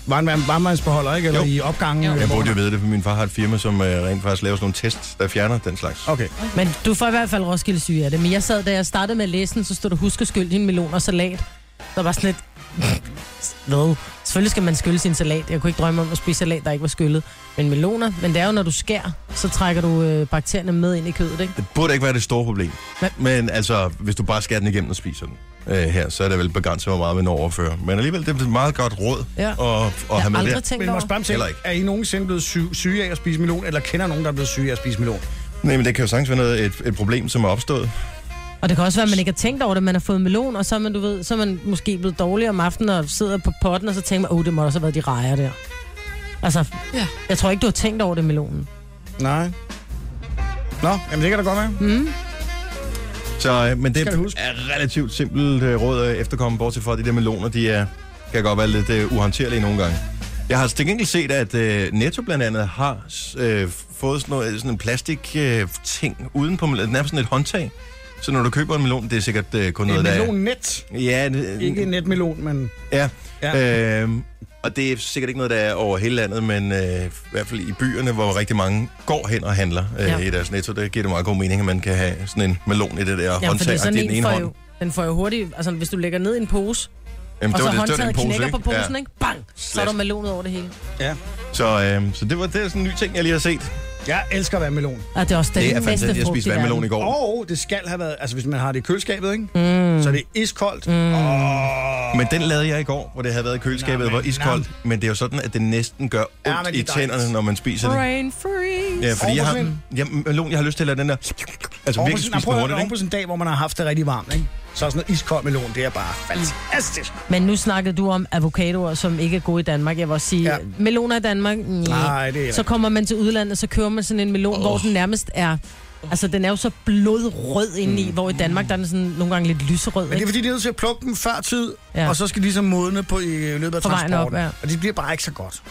varme- varmvandsbeholder, ikke? Eller Jo. i opgangen. øh, Jeg hvor burde jo man- vide det, for min far har et firma, som øh, rent faktisk laver sådan nogle tests, der fjerner den slags. Okay. Men du får i hvert fald Roskilde syge af det. Men jeg sad, da jeg startede med at læse den, så stod der, husk at skylle din melon og salat. Der var sådan lidt... Hvad? Selvfølgelig skal man skylle sin salat. Jeg kunne ikke drømme om at spise salat, der ikke var skyllet. Men meloner, men det er jo, når du skærer, så trækker du øh, bakterierne med ind i kødet, ikke? Det burde ikke være det store problem. Nej. Men altså, hvis du bare skærer den igennem og spiser den øh, her, så er det vel begrænset, hvor meget man overfører. Men alligevel, det er et meget godt råd Ja. at, at Jeg have har med aldrig der. tænkt Men må over. jeg spørge om ting, Heller ikke. er I nogensinde blevet syg, syge af at spise melon, eller kender nogen, der er blevet syge af at spise melon? Nej, men det kan jo sagtens være noget, et, et problem, som er opstået. Og det kan også være, at man ikke har tænkt over det. Man har fået melon, og så er man, du ved, så er man måske blevet dårlig om aftenen og sidder på potten, og så tænker man, åh, oh, det må også have været de rejer der. Altså, Ja. ja. jeg tror ikke, du har tænkt over det, melonen. Nej. Nå, jamen det kan da godt være. Mm. Så, øh, men det Skal er du huske. relativt simpelt øh, råd at efterkomme, bortset fra, at de der meloner, de er, kan godt være lidt øh, uhåndterlige nogle gange. Jeg har til gengæld set, at øh, Netto blandt andet har øh, fået sådan, noget, sådan en plastik øh, ting uden på melonen. Nærmest sådan et håndtag. Så når du køber en melon, det er sikkert øh, kun noget, En der... er- melonnet. Ja, en, Ikke en netmelon, men... Ja. Ja. ja. Øhm, og det er sikkert ikke noget, der er over hele landet, men øh, i hvert fald i byerne, hvor rigtig mange går hen og handler øh, ja. Ja. i deres netto, der giver det meget god mening, at man kan have sådan en melon i det der Ja, håndtag, fordi og det er sådan den en ene får hånd. jo, den får jo hurtigt, altså hvis du lægger ned i en pose, Jamen, og det så var det- det var håndtaget den pose, knækker på ikke? Ja. posen, ja. ikke? Bang! Så er Slet. der melonet over det hele. Ja. Så, øh, så det var det er sådan en ny ting, jeg lige har set. Jeg elsker vandmelon. Og det er også den Det er bedste fantastisk. Jeg frugt spiste i verden. vandmelon i går. Og det skal have været... Altså, hvis man har det i køleskabet, ikke? Mm. Så er det iskoldt. Mm. Oh. Men den lavede jeg i går, hvor det havde været i køleskabet, Nå, Nå, men- var iskoldt. Men det er jo sådan, at det næsten gør ondt Ja, ja, men det i er tænderne, dejligt. når man spiser det. Brain freeze. Ja, fordi jeg har, Overprocent. jamen, melon, jeg har lyst til at lade den der... Altså virkelig spise den hurtigt, Oven på ikke? sådan en dag, hvor man har haft det rigtig varmt, ikke? Så er sådan noget iskold melon, det er bare fantastisk. Men nu snakkede du om avocadoer, som ikke er gode i Danmark. Jeg vil også sige, Ja. ja. meloner i Danmark, Nej, det er Så kommer man til udlandet, så kører man sådan en melon, oh. hvor den nærmest er... Altså, den er jo så blodrød indeni, mm. hvor i Danmark, der er den sådan nogle gange lidt lyserød, Men det er ikke? fordi, de er nødt til at plukke dem før tid, ja. Ja. og så skal de så modne på i løbet af På vejen transporten. op, ja. Og det bliver bare ikke så godt.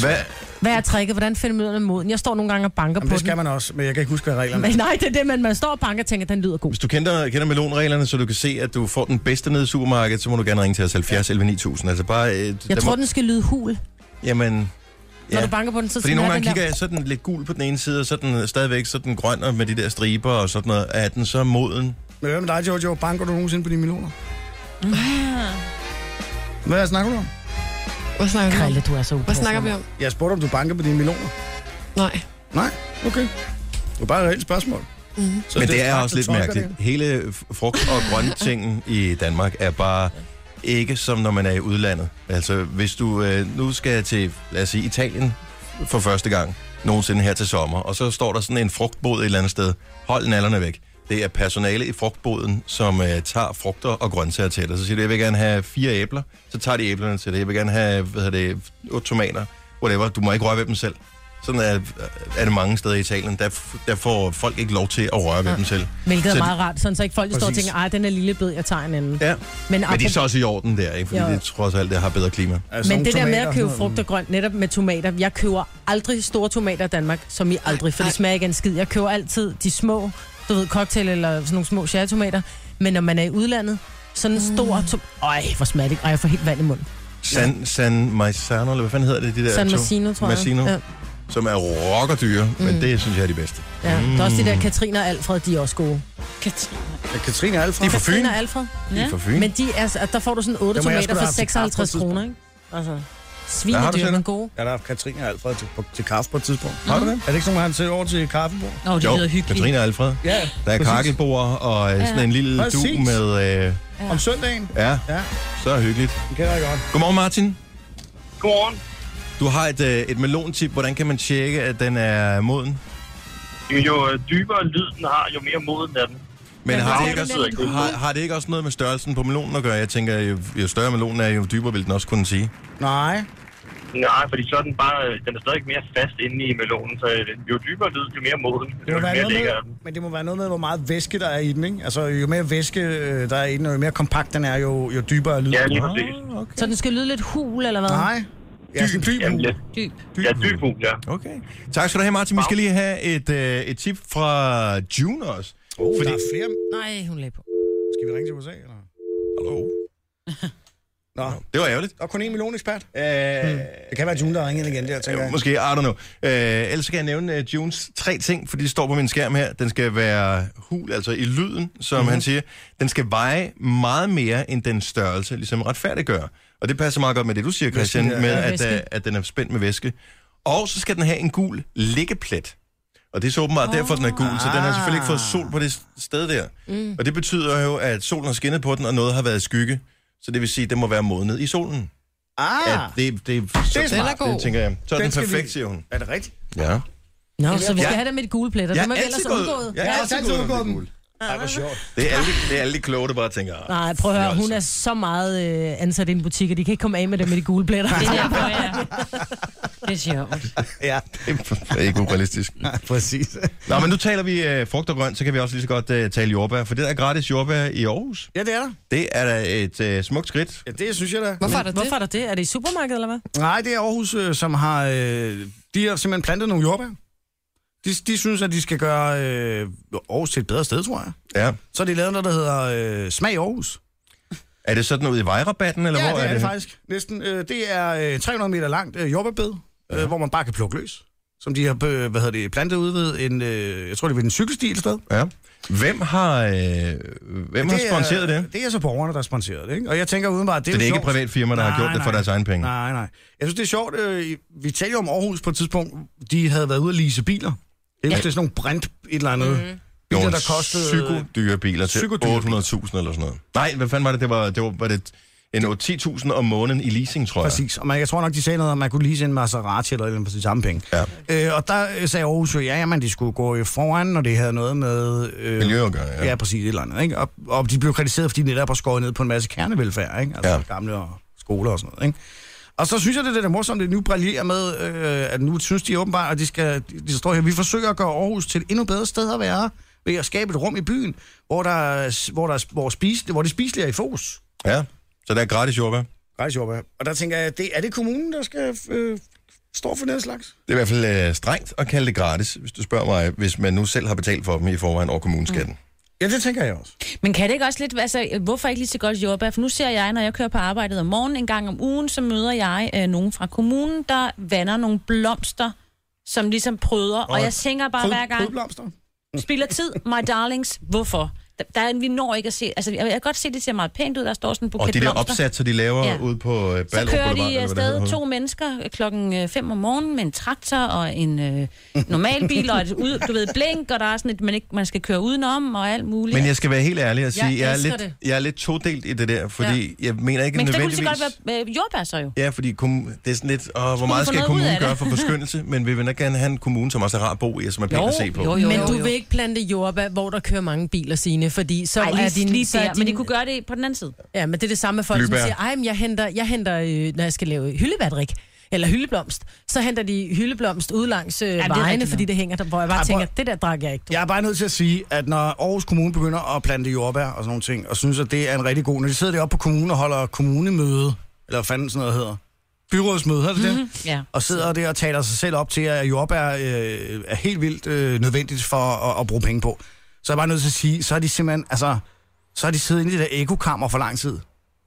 Hvad? Hvad er tricket? Hvordan finder man ud af moden? Jeg står nogle gange og banker Jamen, på det skal man også, men jeg kan ikke huske, hvad reglerne den. er. Men nej, det er det, man, man står og banker og tænker, den lyder god. Hvis du kender, kender melonreglerne, så du kan se, at du får den bedste nede i supermarkedet, så må du gerne ringe til os 70 11 9000. Altså bare... Øh, Jeg der tror, må, den skal lyde hul. Jamen... Når Ja. du banker på den, så Fordi skal den nogle have gange den kigger jeg sådan lidt gul på den ene side, og så er den stadigvæk sådan grøn og med de der striber og sådan noget. Er den så moden? Men hvad med dig, Jojo? Banker du nogensinde på dine millioner? Ah. Hvad snakker du om? Hvad snakker der. vi om? Krille, du er så Hvad snakker vi om? Jeg spurgte, om du banker på dine millioner. Nej. Nej? Okay. Det var bare et reelt spørgsmål. Mhm. Mm-hmm. Men det er også lidt mærkeligt. Hele f- frugt- og grønntingen i Danmark er bare ikke som når man er i udlandet. Altså, hvis du øh, nu skal til, lad os sige, Italien for første gang nogensinde her til sommer, og så står der sådan en frugtbod et eller andet sted. Hold nallerne væk. Det er personale i frugtboden, som øh, tager frugter og grøntsager til dig. Så siger du, jeg vil gerne have fire æbler. Så tager de æblerne til dig. Jeg vil gerne have, hvad hedder det, otte tomater. Whatever. Du må ikke røre ved dem selv. Sådan er, er det mange steder i Italien. Der, f- der får folk ikke lov til at røre ved dem selv. Hvilket Så er det- meget rart, sådan så ikke folk de står og Præcis. tænker, ej, den er lille blød, jeg tager en anden. Ja. Men, Men det er apropos- så også i orden der, ikke? Fordi Jo. det trods alt, det har bedre klima. Altså, Men nogle det der med tomater at og købe sådan noget. frugt og grønt, netop med tomater, jeg køber aldrig store tomater i Danmark, som i aldrig, for Nej. det smager ikke af en skid. Jeg køber altid de små, du ved, cocktail eller sådan nogle små cherrytomater, men når man er i udlandet, sådan en stor tom... Øj, hvor smager det ikke. Ej, jeg får helt vand i munden. San, San Marzano, eller hvad fanden hedder det, de der San to? Massino, tror jeg. Massino, Ja, som er rockerdyre, mm. men det synes jeg er de bedste. ja. Der er også de Mm. der Katrine og Alfred, de er også gode. Katrine. Ja, Katrine er alt fra. De er fra Fyn. Katrine og Alfred? De er fra Fyn. Men de er, altså, der får du sådan 8 Dem har jeg sgu tomater da for haft til kaffe på et 56 kroner, ikke? Altså, svinedyr, Shanna? men gode. Ja, der er Katrine og Alfred til, på- til kaffe på et tidspunkt. Har du det? Er det ikke sådan, man har til over til kaffebord? Nå, det lyder hyggeligt. Katrine og Alfred. Ja, Der er præcis. kakkelbord og øh, sådan en lille Præcis. du med... Øh, Om søndagen? ja, Ja, så hyggeligt. den kender jeg godt. Godmorgen, Martin. Godmorgen. Du har et, øh, et melontip. Hvordan kan man tjekke, at den er moden? Jamen, Jo øh, dybere lyd den har, jo mere moden er den. Men Ja, har hvor det, er ikke den også, henne? har, har det ikke også noget med størrelsen på melonen at gøre? Jeg tænker, jo, jo større melonen er, jo dybere vil den også kunne sige. Nej. Nej, fordi så er den bare, øh, den er stadig mere fast inde i melonen, så øh, jo dybere lyd, jo mere moden, Det jo må være mere noget lækker er den. med, men det må være noget med, hvor meget væske der er i den, ikke? Altså, jo mere væske øh, der er i den, og jo mere kompakt den er, jo, jo dybere lyder Ja, den. lige præcis. okay. Så den skal lyde lidt hul, eller hvad? Nej. Ja, dyb, dyb. Jamen, ja, Dyb. ja dyb hud, ja. Okay. Tak skal du have, Martin. Vi skal lige have et, øh, et tip fra June også. Oh, fordi... Der er flere... Nej, hun lagde på. Skal vi ringe til USA, eller? Hallo. Nå, Det var ærgerligt. der er kun én millionekspert. Øh, Det kan være, at June, der ringer igen der, tænker øh, jeg. måske, I don't know. Øh, ellers så kan jeg nævne øh, Junes tre ting, fordi det står på min skærm her. Den skal være hul, altså i lyden, som Mhm. mm-hmm. han siger. Den skal veje meget mere end den størrelse, ligesom retfærdiggør. Og det passer meget godt med det, du siger, Christian, Væsken, ja. med Ja, at, væsken. øh, at den er spændt med væske. Og så skal den have en gul liggeplet. Og det er så åbenbart oh. derfor, den er gul, så den har selvfølgelig ikke fået ah. sol på det s- sted der. Mm. Og det betyder jo, at solen har skinnet på den, og noget har været i skygge. Så det vil sige, at den må være modnet i solen. Ah, Ja, det, det, så, Den er god. Det, tænker jeg. Så er den, Den den skal perfekt, vi- siger hun. er det rigtigt? Ja. Nå, så vi skal Ja. have det med de gule pletter. Jeg Dem er er vi ellers altid gået, undgået. jeg Ja, er altid tak, gået du under går det den. gule. Ej, hvor sjovt. Det er alle, det er alle de kloge, der bare tænker... "Ah, Nej, prøv at høre, fjolse." hun er så meget øh, ansat i en butik, at de kan ikke komme af med det med de gule pletter. Det er derfor, jeg Det er sjovt. Ja. Det er ikke urealistisk. Nej, præcis. Nå, men nu taler vi øh, frugt og grønt, så kan vi også lige så godt øh, tale jordbær, for det der er gratis jordbær i Aarhus. Ja, det er der. Det er da et øh, smukt skridt. Ja, det synes jeg da. Hvorfor er der det? Hvorfor er der det? Er det i supermarkedet, eller hvad? Nej, det er Aarhus, øh, som har... Øh, de har simpelthen plantet nogle jordbær. De, de synes, at de skal gøre øh, Aarhus til et bedre sted, tror jeg. Ja. Så har de lavet noget, der hedder øh, Smag Aarhus. Er det sådan ude i vejrabatten, eller Ja, hvor det er det henne? faktisk. Næsten. Øh, det er øh, 300 meter langt øh, jordbærbed, øh, hvor man bare kan plukke løs. Som de har øh, hvad hedder det, plantet ude ved en, øh, jeg tror, det er ved en cykelsti et sted. Ja. Hvem har, øh, hvem har sponsoreret er, det? Det er så borgerne, der har sponsoreret det. Ikke? Og jeg tænker udenbart, det er, Så det er jo ikke sjovt. et privat firma, der har gjort det for deres egne penge? Nej, nej. Jeg synes, det er sjovt. Øh, vi talte jo om Aarhus på et tidspunkt. De havde været ude at lease biler. Jeg ja. det er sådan nogle brændt et eller andet. Mm. Jo, Biler, en der kostede... psykodyre biler til 800.000 Psykodyre biler. eller sådan noget. Nej, hvad fanden var det? Det var, det var, var det en 8-10.000 om måneden i leasing, tror jeg. Præcis. Og man, jeg tror nok, de sagde noget om, at man kunne lease en Maserati eller et eller andet for de samme penge. Ja. Øh, og der øh, sagde Aarhus jo, ja, jamen, de skulle gå øh, foran, når det havde noget med... Øh, Miljø at gøre, ja. ja. ja. præcis, et eller andet. Ikke? Og, og de blev kritiseret, fordi de netop har skåret ned på en masse kernevelfærd, ikke? Altså Ja. ja. gamle og skoler og sådan noget, ikke? Og så synes jeg, det er det der morsomt, at nu brillerer med, øh, at nu synes de åbenbart, at de, skal, de, de står her, vi forsøger at gøre Aarhus til et endnu bedre sted at være, ved at skabe et rum i byen, hvor, der, er- hvor, der, er- hvor, spis, hvor det spiselige er i fokus. Ja, så der er gratis jordbær. Det Rejsejordbær. Og der tænker jeg, det, er det kommunen, der skal øh, stå for den slags? er i hvert fald øh, strengt at kalde det gratis, hvis du spørger mig, hvis man nu selv har betalt for dem i forvejen over kommuneskatten. Mm. Ja, det tænker jeg også. Men kan det ikke også lidt, altså, hvorfor ikke lige så godt jordbær? For nu ser jeg, når jeg kører på arbejdet om morgenen en gang om ugen, så møder jeg øh, nogen fra kommunen, der vander nogle blomster, som ligesom prøder. Og jeg tænker bare hver gang, Fodblomster. spiller tid, my darlings, hvorfor? Der, der, er- vi når ikke at se, altså jeg jeg kan godt se, det ser meget pænt ud, der står sådan en buket Og det der blomster. opsat, så de laver Ja. ja. ude på øh, Ballerup Så kører Boulevard, de eller hvad det afsted hedder. to mennesker øh, klokken øh, 5 om morgenen med en traktor og en øh, normal bil og et ud, du ved, blink, og der er sådan et, man, ikke, man skal køre udenom og alt muligt. Men jeg skal være helt ærlig og sige, jeg, jeg, er, elsker lidt, det. jeg er lidt todelt i det der, fordi ja. jeg mener ikke Men det kunne lige nødvendigvis... så godt være øh, jordbær så jo. Ja, fordi kommun, det er sådan lidt, åh, hvor hun meget få skal noget ud af kommunen det? gøre for forskyndelse, men vi vil nok gerne have en kommune, som også er rar at bo i, og som er pæn at se på. jo, jo, Men jo, du jo. vil ikke plante jordbær, hvor der kører mange biler sine, fordi så Ej, lige, er din... lige så er der, din, men de kunne gøre det på den anden side. Ja, men det er det samme med folk, Blåbær. som siger, ej, men jeg henter, jeg henter øh, når jeg skal lave hyldebærdrik, eller hyldeblomst, så henter de hyldeblomst ud langs øh, det er vejene, rigtigt fordi nok. det hænger der, hvor jeg bare Ej, prøv- tænker, det der drak jeg ikke. Du. Jeg er bare nødt til at sige, at når Aarhus Kommune begynder at plante jordbær og sådan nogle ting, og synes, at det er en rigtig god... Når de sidder deroppe på kommunen og holder kommunemøde, eller hvad fanden sådan noget hedder, byrådsmøde, hedder det det? Ja. Og sidder der og taler sig selv op til, at jordbær øh, er helt vildt øh, nødvendigt for at, at bruge penge på. Så er jeg bare nødt til at sige, så er de simpelthen... Altså, så har de siddet inde i det der ekokammer for lang tid.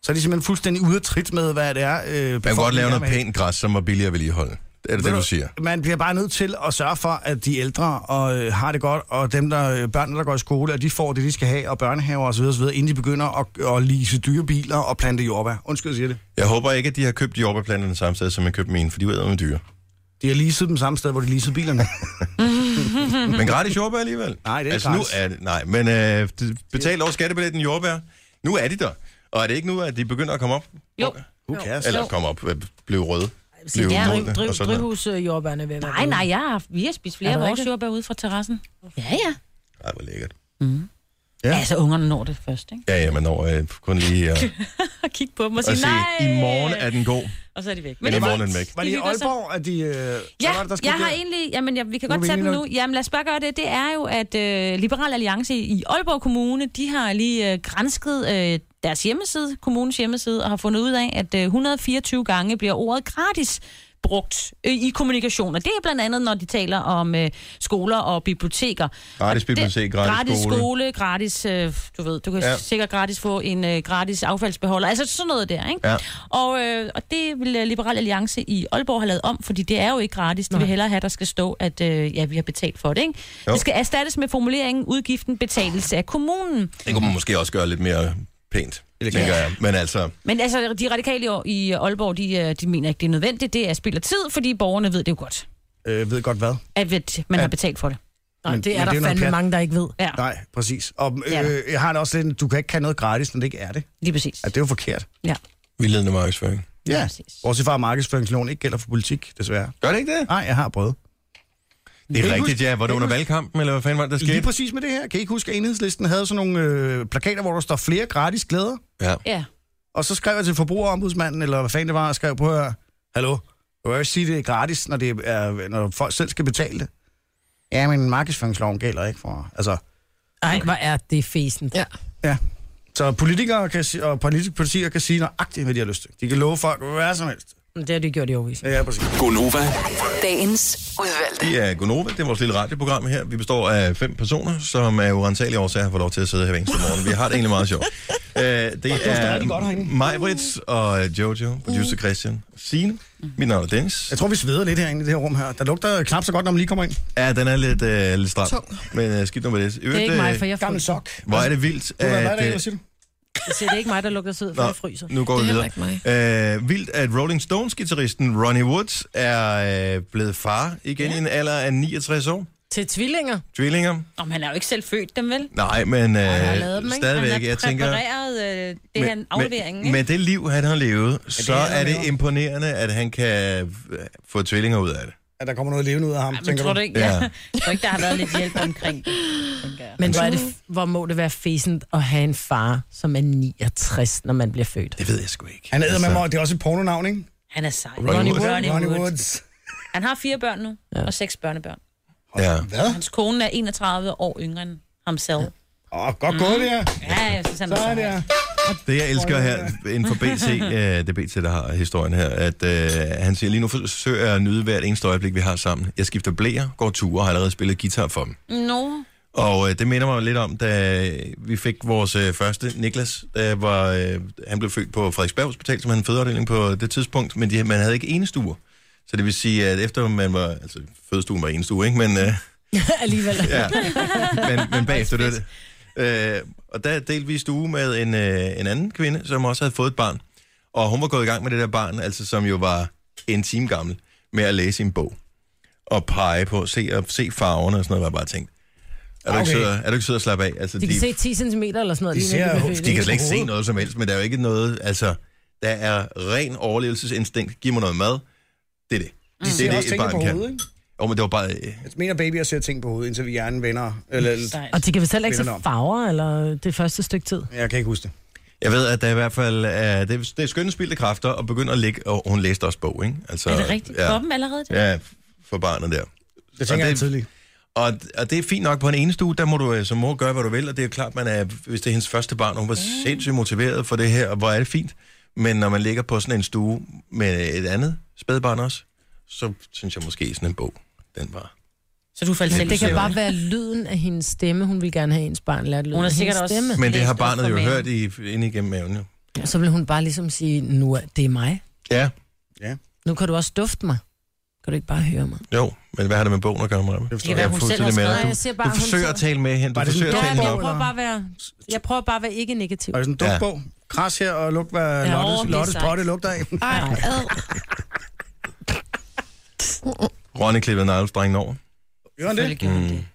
Så er de simpelthen fuldstændig ude af trit med, hvad det er. Øh, Man kan godt lave befolkningen er noget med. pænt græs, som var billigere at vedligeholde. Er det det, Ved du siger? Man bliver bare nødt til at sørge for, at de ældre og, øh, har det godt, og dem, der, øh, børnene, der går i skole, at de får det, de skal have, og børnehaver osv., osv., inden de begynder at, at lease dyre biler og plante jordbær. Undskyld, jeg siger det. Jeg håber ikke, at de har købt jordbærplanterne samme sted, som jeg købte mine, for de er med dyre. De har leaset dem samme sted, hvor de leasede bilerne. Men gratis jordbær alligevel. Mm. Nej, det er altså, ikke nu gratis. er det, Nej, men øh, det- betal over skattebilletten jordbær. Nu er de der. Og er det ikke nu, at de begynder at komme op? Jo. Who cares? Eller komme op, øh, blive røde. Blive ja, modne Driv, og driv, sådan noget. drivhusjordbærne ved at være Nej, ude. nej, jeg har, vi har spist flere Er af det vores rigtigt? jordbær ude fra terrassen. Ja, ja. Ej, hvor lækkert. Ja, altså ungerne når det først, ikke? Ja, ja, man når øh, kun lige at, Og kigge på dem og sige, at se, nej! i morgen er den god, Og så er de væk. men i det er morgen er den fint. væk. Var det i De hygger sig. Aalborg, at de... Øh, hvad Ja, var det, der skete jeg har der? egentlig... Jamen, jeg, vi kan Nu er godt vi tage den enige nu. Jamen, lad os bare gøre det. Det er jo, at øh, Liberal Alliance i Aalborg Kommune, de har lige øh, grænsket øh, deres hjemmeside, kommunens hjemmeside, og har fundet ud af, at øh, 124 gange bliver ordet gratis brugt øh, i kommunikation. Og det er blandt andet, når de taler om øh, skoler og biblioteker. Gratis Og det- bibliotek, gratis skole. skole. gratis... Øh, du ved, du kan Ja. ja. sikkert gratis få en øh, gratis affaldsbeholder. Altså sådan noget der, ikke? Ja. Og, øh, og det vil øh, Liberal Alliance i Aalborg have lavet om, fordi det er jo ikke gratis. De vil hellere have, der skal stå, at øh, ja, vi har betalt for det. Ikke? Jo. Det skal erstattes med formuleringen udgiften betales af kommunen. Det kunne man måske også gøre lidt mere pænt, tænker jeg. Men altså, Men altså, de radikale i- i Aalborg, de, øh, de mener ikke, det er nødvendigt. Det er spild af tid, fordi borgerne ved det jo godt, Øh, ved godt hvad. at at man har betalt for det. nej, men- det er men der det er noget fandme pjat. mange, der ikke ved. Ja, Nej, præcis. Og Ja. øh, jeg har det også lidt, du kan ikke have noget gratis, når det ikke er det. lige præcis. Altså, det er jo forkert. Ja. vildledende markedsføring. Ja, præcis. bortset fra at markedsføringsloven ikke gælder for politik, desværre. Gør det ikke det? Nej, jeg har prøvet. Det Kan I er rigtigt, huske- ja. Var det kan I under huske- valgkampen, eller hvad fanden var det, der Lige skete? præcis med det her. Kan I ikke huske, at enhedslisten havde sådan nogle øh, plakater, hvor der står flere gratis glæder? Ja. Ja. Og så skrev jeg til forbrugerombudsmanden, eller hvad fanden det var, og skrev på her, hallo, Du kan jo ikke sige, det er gratis, når, det er, når folk selv skal betale det. Ja, men markedsføringsloven gælder ikke for... Altså, Ej, hvor er det fæsent. Ja. ja. Så politikere kan, si- og politiske partier kan sige nøjagtigt, hvad de har lyst til. De kan love folk hvad som helst. Det har de gjort i overvis. Ja, præcis. Gonova. Dagens udvalgte. Det er Gonova, det er vores lille radioprogram her. Vi består af fem personer, som af urensagelige årsager får lov til at sidde her hver eneste morgen. Vi har det egentlig meget sjovt. Øh, det er Majbrits og Jojo, producer Christian, Signe, mit navn er Dennis. Jeg tror, vi sveder lidt herinde i det her rum her. Der lugter knap så godt, når man lige kommer ind. Ja, den er lidt, øh, lidt stram, Tung. men øh, skidt nu med det. I øvrigt, øh, Gammel sok. Hvor er det vildt, Du, hvad, at, hvad er det, øh, hvad siger du? Jeg siger, det er ikke mig, der lukker sød, for Nå, jeg fryser. Nu går vi videre. Øh, vildt, at Rolling Stones-gitarristen Ronnie Wood er øh, blevet far igen ja. i en alder af 69 år. Til tvillinger. Tvillinger? Om han er jo ikke selv født dem, vel? Nej, men Han har øh, lavet dem, ikke? stadigvæk, han har jeg tænker... præpareret øh, det her aflevering, med, ikke? med det liv, han har levet, så det er, er, han det lever. imponerende, at han kan øh, få tvillinger ud af det. At der kommer noget levende ud af ham, ja, Men tænker tror du? du ikke, Ja. ja. jeg tror ikke, der har været lidt hjælp omkring det? tænker jeg. Men hvor, er det, f- hvor må det være fæsent at have en far, som er 69, når man bliver født? Det ved jeg sgu ikke. Han æder med mig, det er også et pornonavn, ikke? Han er sej. Ronnie Wood. Ronnie Woods. Han har fire børn nu, ja. og seks børnebørn. Ja. Hvad? Hans kone er 31 år yngre end ham selv. Ja. Åh, oh, godt gået det her. Ja, jeg synes, han Så er det sej. her. Det, jeg elsker her inden for BT, øh, det er BT, der har historien her, at øh, han siger, lige nu forsøger jeg at nyde hvert eneste øjeblik, vi har sammen. Jeg skifter blæer, går ture og har allerede spillet guitar for dem. No. Og øh, det minder mig lidt om, da vi fik vores øh, første, Niklas, der var, øh, han blev født på Frederiksberg Hospital, som han en fødeafdeling på det tidspunkt, men de, man havde ikke enestuer. Så det vil sige, at efter man var, altså fødestuen var enestue, ikke? Men, øh, Alligevel. ja. men, men bagefter det. var det. Øh, og der delte vi stue med en, øh, en anden kvinde, som også havde fået et barn. Og hun var gået i gang med det der barn, altså som jo var en time gammel, med at læse en bog. Og pege på, se, og se farverne og sådan noget, var bare tænkt. Er du, okay. Okay. ikke sød, at- er du ikke sød at slappe af? Altså, De kan se 10 cm eller sådan noget. De lige når ser- bliver født, de ikke? kan slet ikke se noget som helst, men der er jo ikke noget, altså, der er ren overlevelsesinstinkt. Giv mig noget mad. Det er det. De Det ser er det, også et ting på barn kan. hovedet, ikke? Jo, men det var bare... øh, Jeg mener baby at se ting på hovedet, indtil vi hjernen vender. Eller, Og de kan vel selv ikke Minder se om. farver eller det første stykke tid. jeg kan ikke huske det. Jeg ved, at der i hvert fald er, det, er- det er skønne spild af kræfter at begynde at ligge, og hun læste også bog, ikke? Altså, Er det rigtigt? Ja. Ja, Kom allerede? Det? ja, for barnet der. Det tænker Og jeg tidligt. Og, og det er fint nok på en enestue, der må du øh, som mor gøre, hvad du vil, og det er jo klart, man er, hvis det er hendes første barn, og hun var sindssygt motiveret for det her, og hvor er det fint. Men når man ligger på sådan en stue med et andet spædbarn også, så synes jeg måske sådan en bog, den var... Så du faldt Ja, selv det Det kan ser bare man. være lyden af hendes stemme. Hun vil gerne have ens barn lært lyden Hun er af sikkert hendes også- stemme. Men det har Læst op barnet fra jo maven. hørt i, inde igennem maven, jo. Og Så vil hun bare ligesom sige, nu er det er mig. Ja, Nu kan du også dufte mig. Kan du ikke bare høre mig? jo, men hvad har det med bogen at gøre, Mm. Maja? Det kan være, hun selv har skrevet- Nej, jeg siger Du, bare, du hun forsøger så- at tale med hende, du Var det sådan forsøger at en Ja, tale men med hende. jeg Eller- prøver bare at være, jeg prøver bare at være ikke negativ. Og det er sådan en Ja. duftbog. Kras her og luk, hvad Ja, Lottes, åh, det er Lottes sejt. potte lugter af. Ej, Nej. ad. Ronny klippede navlestrengen over. Gør han det? Mm. Selvfølgelig gjorde hun det.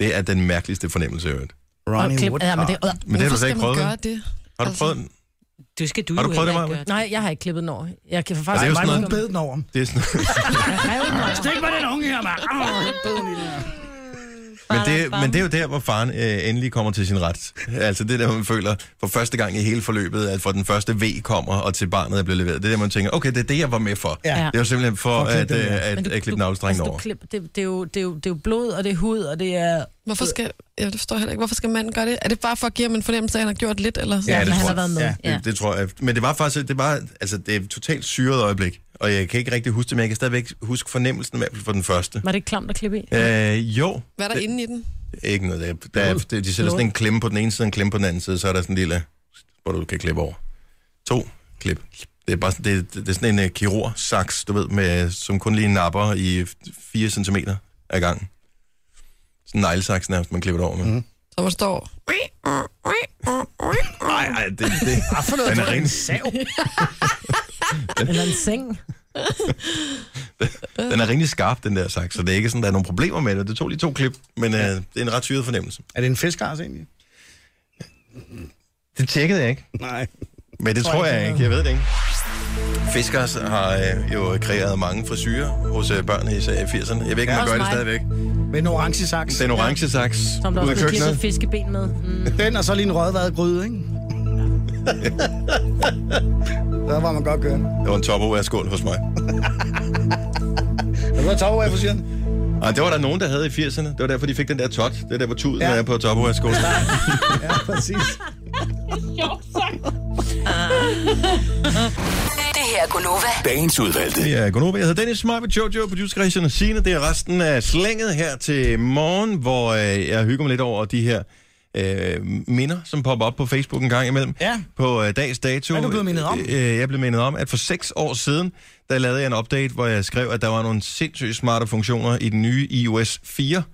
Det er den mærkeligste fornemmelse, jeg har hørt. Og Ronnie klip, Wood. Ah. ja, men det, øh, Men det har Hvorfor du slet skal ikke man prøvet. gøre vel? det? Har du Altså- prøvet den? Du skal du, Har du jo prøvet det, heller ikke Maja? gøre nej, jeg har ikke klippet den over. Jeg kan faktisk det er jo Var sådan noget- det nogen bed den over? Det er sådan, Stik mig den unge her, mand. Ah. Arr, bed den i den her. men, det, men det er jo der, hvor faren øh, endelig kommer til sin ret. Altså det der, man føler for første gang i hele forløbet, at fra den første V kommer, og til barnet er blevet leveret. Det er der, man tænker, okay, det er det, jeg var med for. Ja. Det var simpelthen for, For at at, klippe øh, den, ja. at, at klippe navlestrengen altså, du over. klip, det, det, er jo, det, er jo, det er jo blod, og det er hud, og det er... Hvorfor skal, ja, det forstår jeg heller ikke. Hvorfor skal manden gøre det? Er det bare for at give ham en fornemmelse af, at han har gjort lidt? Eller sådan? Ja, det tror han har jeg. været med. Ja. Det, det tror jeg. Men det var faktisk, det var, altså det er et totalt syret øjeblik. Og jeg kan ikke rigtig huske det, men jeg kan stadigvæk huske fornemmelsen, i hvert fald for den første. Var det klamt at klippe i? Øh, jo, Hvad er der inde i den? Ikke noget. Der, der er, de sætter sådan en klemme på den ene side, og en klemme på den anden side, så er der sådan en lille, hvor du kan klippe over. To klip. Det er, bare sådan, det, det er sådan en uh, kirurg-saks, du ved, med, som kun lige napper i 4 cm ad gangen. Sådan en neglesaks nærmest, man klipper det over med. Mm. Så man står... Ej, ej, det, det, For noget, den det er var ren, en sav. Eller en seng? den er rimelig skarp, den der saks, så det er ikke sådan, der er nogen problemer med det. Det tog lige to klip, men uh, det er en ret syret fornemmelse. Er det en fiskars egentlig? Det tjekkede jeg ikke. Nej. Men det tror jeg ikke, jeg ved det ikke. Fiskers har øh, jo kreeret mange frisyrer hos øh, børn i især i 80'erne. Jeg ved ikke, om man Også gør det mig. stadigvæk. Med en orange saks. Den orange saks Som der ud også af blev klippet køkkenet. fiskeben med. Mm. Den og så lige en rødvaret gryde, ikke? Der var man godt kørende. Det var en top af skål hos mig. Er du noget topper, jeg siger? Ej, det var der nogen, der havde i 80'erne. Det var derfor, de fik den der tot. Det der var tuden, ja. der er på topoverskolen. Ja, præcis. Det her er Gunova. Dagens udvalgte. Det er Gunova. Jeg hedder Dennis Smeiber, Jojo, producer Christian og Signe. Det er resten af slænget her til morgen, hvor øh, jeg hygger mig lidt over de her øh, minder, som popper op på Facebook en gang imellem. Ja. På øh, dags dato. Hvad er du blevet mindet om? Øh, øh, jeg blev mindet om, at for seks år siden, der lavede jeg en update, hvor jeg skrev, at der var nogle sindssygt smarte funktioner i den nye iOS 4. Det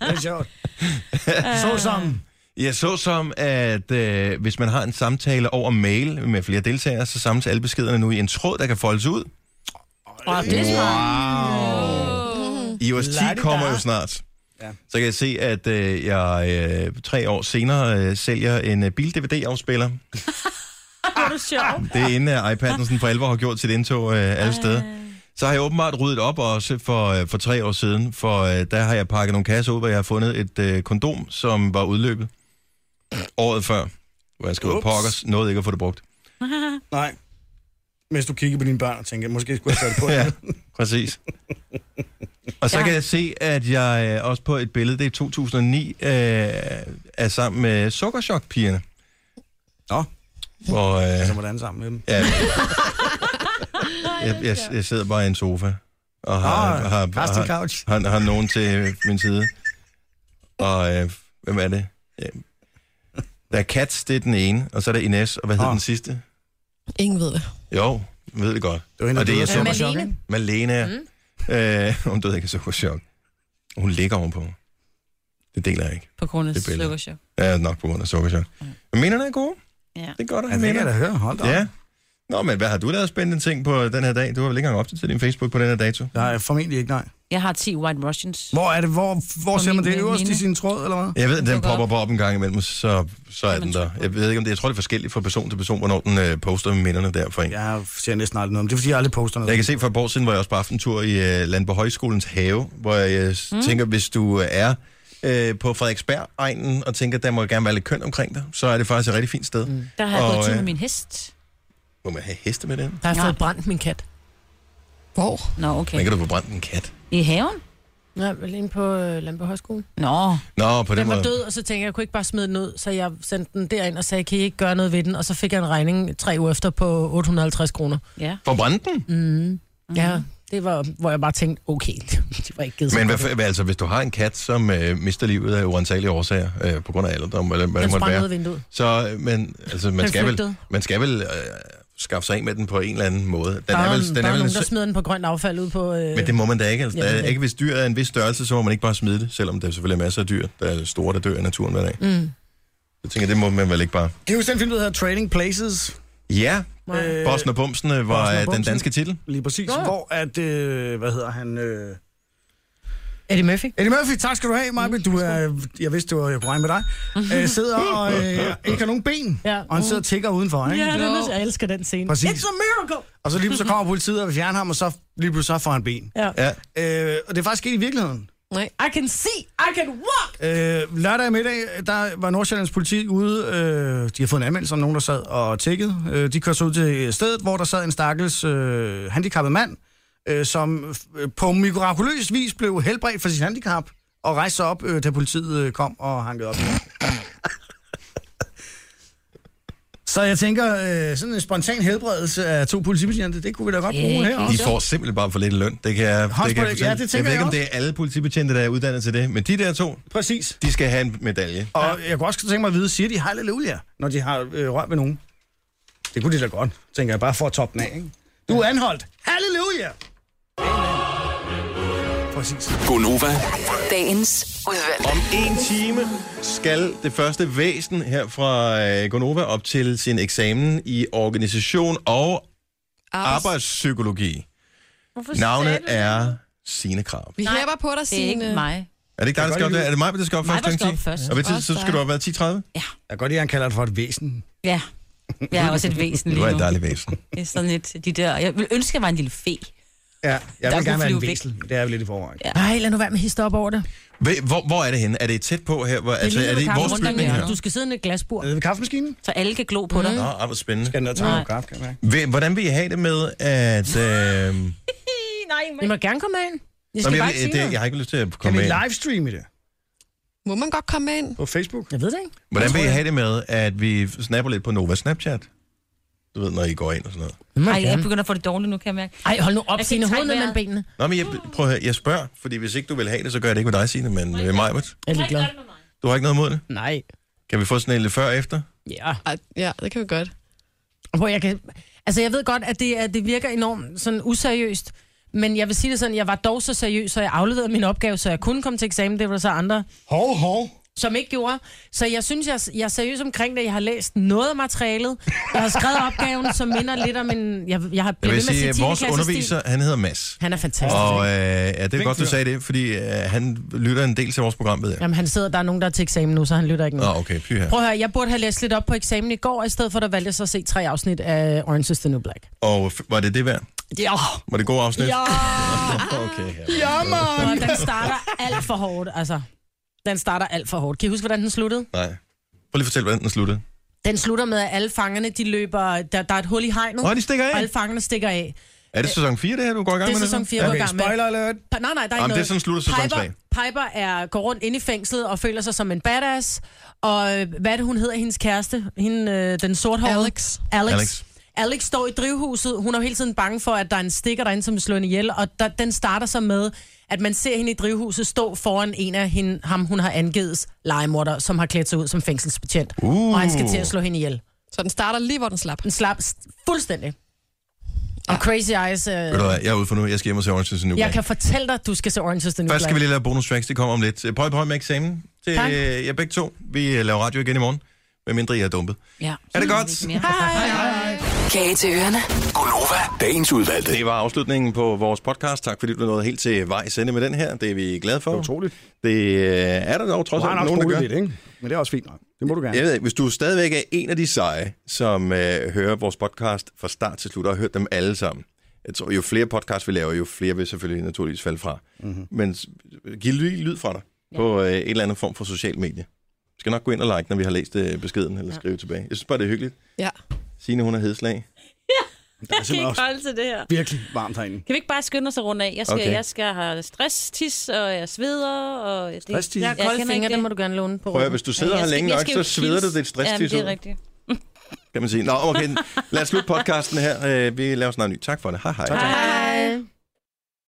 er sjovt. Øh. Så som... Jeg så som, at øh, hvis man har en samtale over mail med flere deltagere, så samles alle beskederne nu i en tråd, der kan foldes ud. Åh, det er smart. iOS 10 Ladidada. kommer jo snart. Ja. Ja. Så kan jeg se, at øh, jeg øh, tre år senere øh, sælger en øh, bil-DVD-afspiller. Hvor er du sjov. Det er inden uh, iPad'en sådan for alvor har gjort sit indtog øh, alle steder. Så har jeg åbenbart ryddet op også for, øh, for tre år siden, for øh, der har jeg pakket nogle kasser ud, hvor jeg har fundet et øh, kondom, som var udløbet året før. Hvor jeg skrev Ups. pokkers, nåede ikke at få det brugt. Nej. Mens du kigger på dine børn og tænker, måske skulle jeg tage det på. Ja, præcis. Og så kan jeg se, at jeg øh, også på et billede, det er 2009, øh, er sammen med Sukkerchok-pigerne. Nå. Hvor, øh, Så hvordan sammen med dem? ja, jeg, jeg, jeg sidder bare i en sofa og har, Ah, har, har, Carsten har, Couch. har, har nogen til min side. Og øh, hvem er det? Ja. Der er Katz, det er den ene, og så er der Ines, og hvad hedder Ah. den sidste? Ingen ved det. Jo, jeg ved det godt. Det var hende, Og det er der jeg døde af så- sukkerchok, Malene. ikke? Malena. Mm. Øh, hun døde ikke af sukkerchok. Hun ligger ovenpå mig. Det deler jeg ikke. På grund af Det billede. slukkerchok. Ja, nok på grund af sukkerchok. Mm. Men minderne er gode. Ja. Det er godt at Ja, have det kan jeg minder. da høre. Hold da op. Ja. Nå, men hvad har du lavet spændende ting på den her dag? Du har vel ikke engang opdateret din Facebook på den her dato? Nej, formentlig ikke, nej. Jeg har 10 White Russians. Hvor er det? Hvor, hvor ser man det min øverst i veninde. sin tråd, eller hvad? Jeg ved, den dukker popper på op en gang imellem, så, så er Kan man den der. trykke på. Jeg ved ikke, om det jeg tror, det er forskelligt fra person til person, hvornår den øh, poster med minderne der for en. Ja. Jeg ser næsten aldrig noget om det, er fordi jeg aldrig poster noget. Jeg kan se for et par år siden, hvor jeg også på aftentur i øh, Landborg Højskolens have, hvor jeg mm. tænker, hvis du er øh, på Frederiksberg-egnen og tænker, der må gerne være lidt køn omkring dig, så er det faktisk et rigtig fint sted. Mm. Der har jeg Og, gået tur med øh, min hest. Må man have heste med den? Der har jeg Ja. fået brændt min kat. Hvor? Nå, okay. Man kan du få brændt en kat. I haven? Nej, vel inde på øh, Landbohøjskolen. Nå, Nå, på den, Den var måde. død, og så tænkte jeg, jeg kunne ikke bare smide den ud, så jeg sendte den derind og sagde, kan I ikke gøre noget ved den? Og så fik jeg en regning tre uger efter på 850 kroner. ja. For at brænde den? Mm. Mm-hmm. Mm. Ja, det var, hvor jeg bare tænkte, okay, det var ikke givet Men sig hvad, godt. for- altså, hvis du har en kat, som øh, mister livet af uantagelige årsager, øh, på grund af alderdom, eller hvad det måtte Den sprang være, ud af vinduet. Så, øh, men altså, man, Den skal vel, flygtede. man skal vel øh, skaffe sig af med den på en eller anden måde. Den Der er er, vel, der den er er vel nogen, en, der smider den på grønt affald ud på... Øh, men det må man da ikke. Altså, Jamen, der, det- ikke hvis dyr er en vis størrelse, så må man ikke bare smide det, selvom der selvfølgelig er masser af dyr, der er store, der dør af naturen hver dag. Mm. Jeg tænker, det må man vel ikke bare. Kan I huske den film, der hedder Trading Places? Ja, Øh, Bossen og Bumsen var Bossen og øh, den Bumsen. danske titel. Lige præcis. Nå. Hvor at, øh, hvad hedder han? Øh... Eddie Murphy? Eddie Murphy, tak skal du have, Maja. Du er, jeg vidste, du var, jeg kunne regne med dig. Øh, sidder og øh, ikke har nogen ben, Ja. og han sidder og tigger udenfor, ikke? Ja, den er, jeg elsker den scene. Præcis. It's a miracle! Og så lige pludselig kommer politiet og vil fjerne ham, og så lige pludselig så får han ben. Ja. Ja. Øh, og det er faktisk sket i virkeligheden. Nej. I can see, I can walk! Øh, lørdag middag, der var Nordsjællands politi ude. Øh, de har fået en anmeldelse om nogen, der sad og tækkede. Øh, de kørte så ud til stedet, hvor der sad en stakkels øh, handicappet mand, øh, som øh, på mirakuløs vis blev helbredt for sit handicap og rejste sig op, øh, da politiet øh, kom og hankede op. i ham. Så jeg tænker, øh, sådan en spontan helbredelse af to politibetjente, det kunne vi da godt bruge her De også. får simpelthen bare for lidt løn. Det kan jeg, det kan Håndsprit, jeg, ja, det fortælle. tænker jeg ved jeg ikke, om det er alle politibetjente, der er uddannet til det, men de der to, Præcis. de skal have en medalje. Og jeg kunne også tænke mig at vide, siger de hej Halleluja, når de har øh, rørt ved nogen? Det kunne de da godt, tænker jeg, bare for at toppe den af, ikke? Du er anholdt. Halleluja! Præcis. Gonova. Dagens udvalgte. Om en time skal det første væsen her fra øh, Gonova op til sin eksamen i organisation og arbejdspsykologi. Hvorfor Navnet er Signe Krav. Vi Nej, hæpper på dig, Det er Signe. ikke mig. Er det ikke dig, der skal op der? Er det mig, der skal op Mig, først der kl. 10? skal op først. Og ved tid, Også så skal du op være 10.30? Jeg kan godt lide, at han kalder det for et væsen. Ja. Jeg er også et væsen Du lige er nu. et dejligt væsen. Det er sådan lidt de der... Jeg ville ønske, at jeg var en lille fe. Ja, jeg Der vil kunne gerne være flyve en væk. væsel. men Det er vi lidt i forvejen. Nej, lad nu være med at hisse dig op over det. Ved- Hvor, hvor er det henne? Er det tæt på her? Hvor, det altså, er det i vores bygning her? Øh. Du skal sidde i et glasbord. Ved kaffemaskinen? Så alle kan glo på dig. Nå, ej, hvor spændende. Skal den der tage noget kaffe, kan jeg mærke? Ved- Hvordan vil I have det med, at... Øh, Mm-hmm. Nej, I må gerne komme ind. Nå, Jeg skal men bare jeg, ikke sige det, jeg noget. har ikke lyst til at Kan komme vi ind. livestreame det Må man godt komme ind? på Facebook? Jeg ved det ikke. Hvordan vil I have det med, at vi snapper lidt på Nova Snapchat? Du ved, når I går ind og sådan noget. Ej, jeg begynder at få det dårligt nu, kan jeg mærke. Ej, hold nu op, Jeg kan Signe. trække Hovedet ned mellem vejret. benene. Nå, men jeg, prøv at høre, jeg spørger, fordi hvis ikke du vil have det, så gør jeg det ikke med dig, Signe, men med mig. Jeg er ligeglad. Du har ikke noget imod det? Nej. Kan vi få sådan en lidt før og efter? Ja. Ej, ja, det kan vi godt. Hvor jeg kan... Altså, jeg ved godt, at det, at det virker enormt sådan useriøst, men jeg vil sige det sådan, jeg var dog så seriøs, så jeg afleverede min opgave, så jeg kunne komme til eksamen. Det var der så andre, Hov, hov. som ikke gjorde. Så jeg synes, jeg, jeg er seriøs omkring det. Jeg har læst noget af materialet. Jeg har skrevet opgaven, som minder lidt om en... Jeg, jeg har Jeg blevet vil ved med sige, at at sige vores 10. underviser, han hedder Mads. Han er fantastisk. Og ikke? øh, ja, det er godt, du sagde det, fordi øh, han lytter en del til vores program, ved jeg. Jamen, han sidder, der er nogen, der er til eksamen nu, så han lytter ikke nu. Nå, okay, py her. Prøv at høre, jeg burde have læst lidt op på eksamen i går, og i stedet for, der valgte jeg så at se tre afsnit af Orange is the New Black. Og f- var det det værd? Ja. Var det god afsnit? Ja. Okay, ja. Ja, man. Og den starter alt for hårdt, altså. Den starter alt for hårdt. Kan I huske, hvordan den sluttede? Nej. Prøv lige at fortælle, hvordan den sluttede. Den slutter med, at alle fangerne, de løber... Der, der er et hul i hegnet, Åh, og de stikker af. alle fangerne stikker af. Er det sæson 4, det her, du går i gang Det er med? nu? sæson 4, okay, går i Okay, gang med. spoiler alert. Pa- Nej, nej, der er Jamen, ikke det er sådan, slutter sæson Piper, Piper er, går rundt inde i fængslet og føler sig som en badass. Og øh, hvad er det, hun hedder, hendes kæreste? Hende, øh, den sorthårede? Alex. Alex. Alex. Alex. Alex står i drivhuset. Hun er jo hele tiden bange for, at der er en stikker derinde, som vil slå hende ihjel. Og der, den starter så med, at man ser hende i drivhuset stå foran en af hende, ham, hun har angivet legemorder, som har klædt sig ud som fængselsbetjent. Uh. Og han skal til at slå hende ihjel. Så den starter lige, hvor den slap. Den slap s- fuldstændig. Og Crazy Eyes... Øh, Ved du hvad, jeg er ude for nu. Jeg skal hjem og se Orange is the New jeg Black. kan fortælle dig, at du skal se Orange is the New Først skal vi Black. lige lave bonus tracks, det kommer om lidt. Pøj, pøj med eksamen til Tak. øh, jer begge to. Vi øh, laver radio igen i morgen, medmindre I er dumpet. Ja. Er det godt? Hej. Kage til ørerne. Gunova, dagens udvalgte. Det var afslutningen på vores podcast. Tak fordi du nåede helt til vej sende med den her. Det er vi glade for. Det er utroligt. Det øh, er der dog Du trods har alt nok nogen, der skolet gør. lidt, ikke? Men det er også fint nok. Det må du gerne. Jeg ved ikke, hvis du stadigvæk er en af de seje, som øh, hører vores podcast fra start til slut, og har hørt dem alle sammen. Jeg tror, jo flere podcasts vi laver, jo flere vil selvfølgelig naturligvis falde fra. Mm-hmm. Men s- giv lige lyd fra dig på øh, en eller anden form for social medie. Du skal nok gå ind og like, når vi har læst øh, beskeden, eller skrive tilbage. Jeg synes bare, det er hyggeligt. Ja. Signe, hun er hedslag. Der er Jeg kan simpelthen ikke også holde til det her. virkelig varmt herinde. Kan vi ikke bare skynde os at runde af? Jeg skal, Okay. okay. jeg skal have stress, tis, og jeg sveder, og... Det, Stress-tis? Jeg, Jeg jeg har Kolde fingre, kender ikke den det. må du gerne låne på. Prøv at høre, hvis du sidder Ja, her jeg skal- længe jeg nok, skal så jo sveder kils. du dit stress Jamen, det er ud, rigtigt. kan man sige. Nå, okay. Lad os slutte podcasten her. Øh, Vi laver snart en ny. Tak for det. Hej hej. hej. Hej.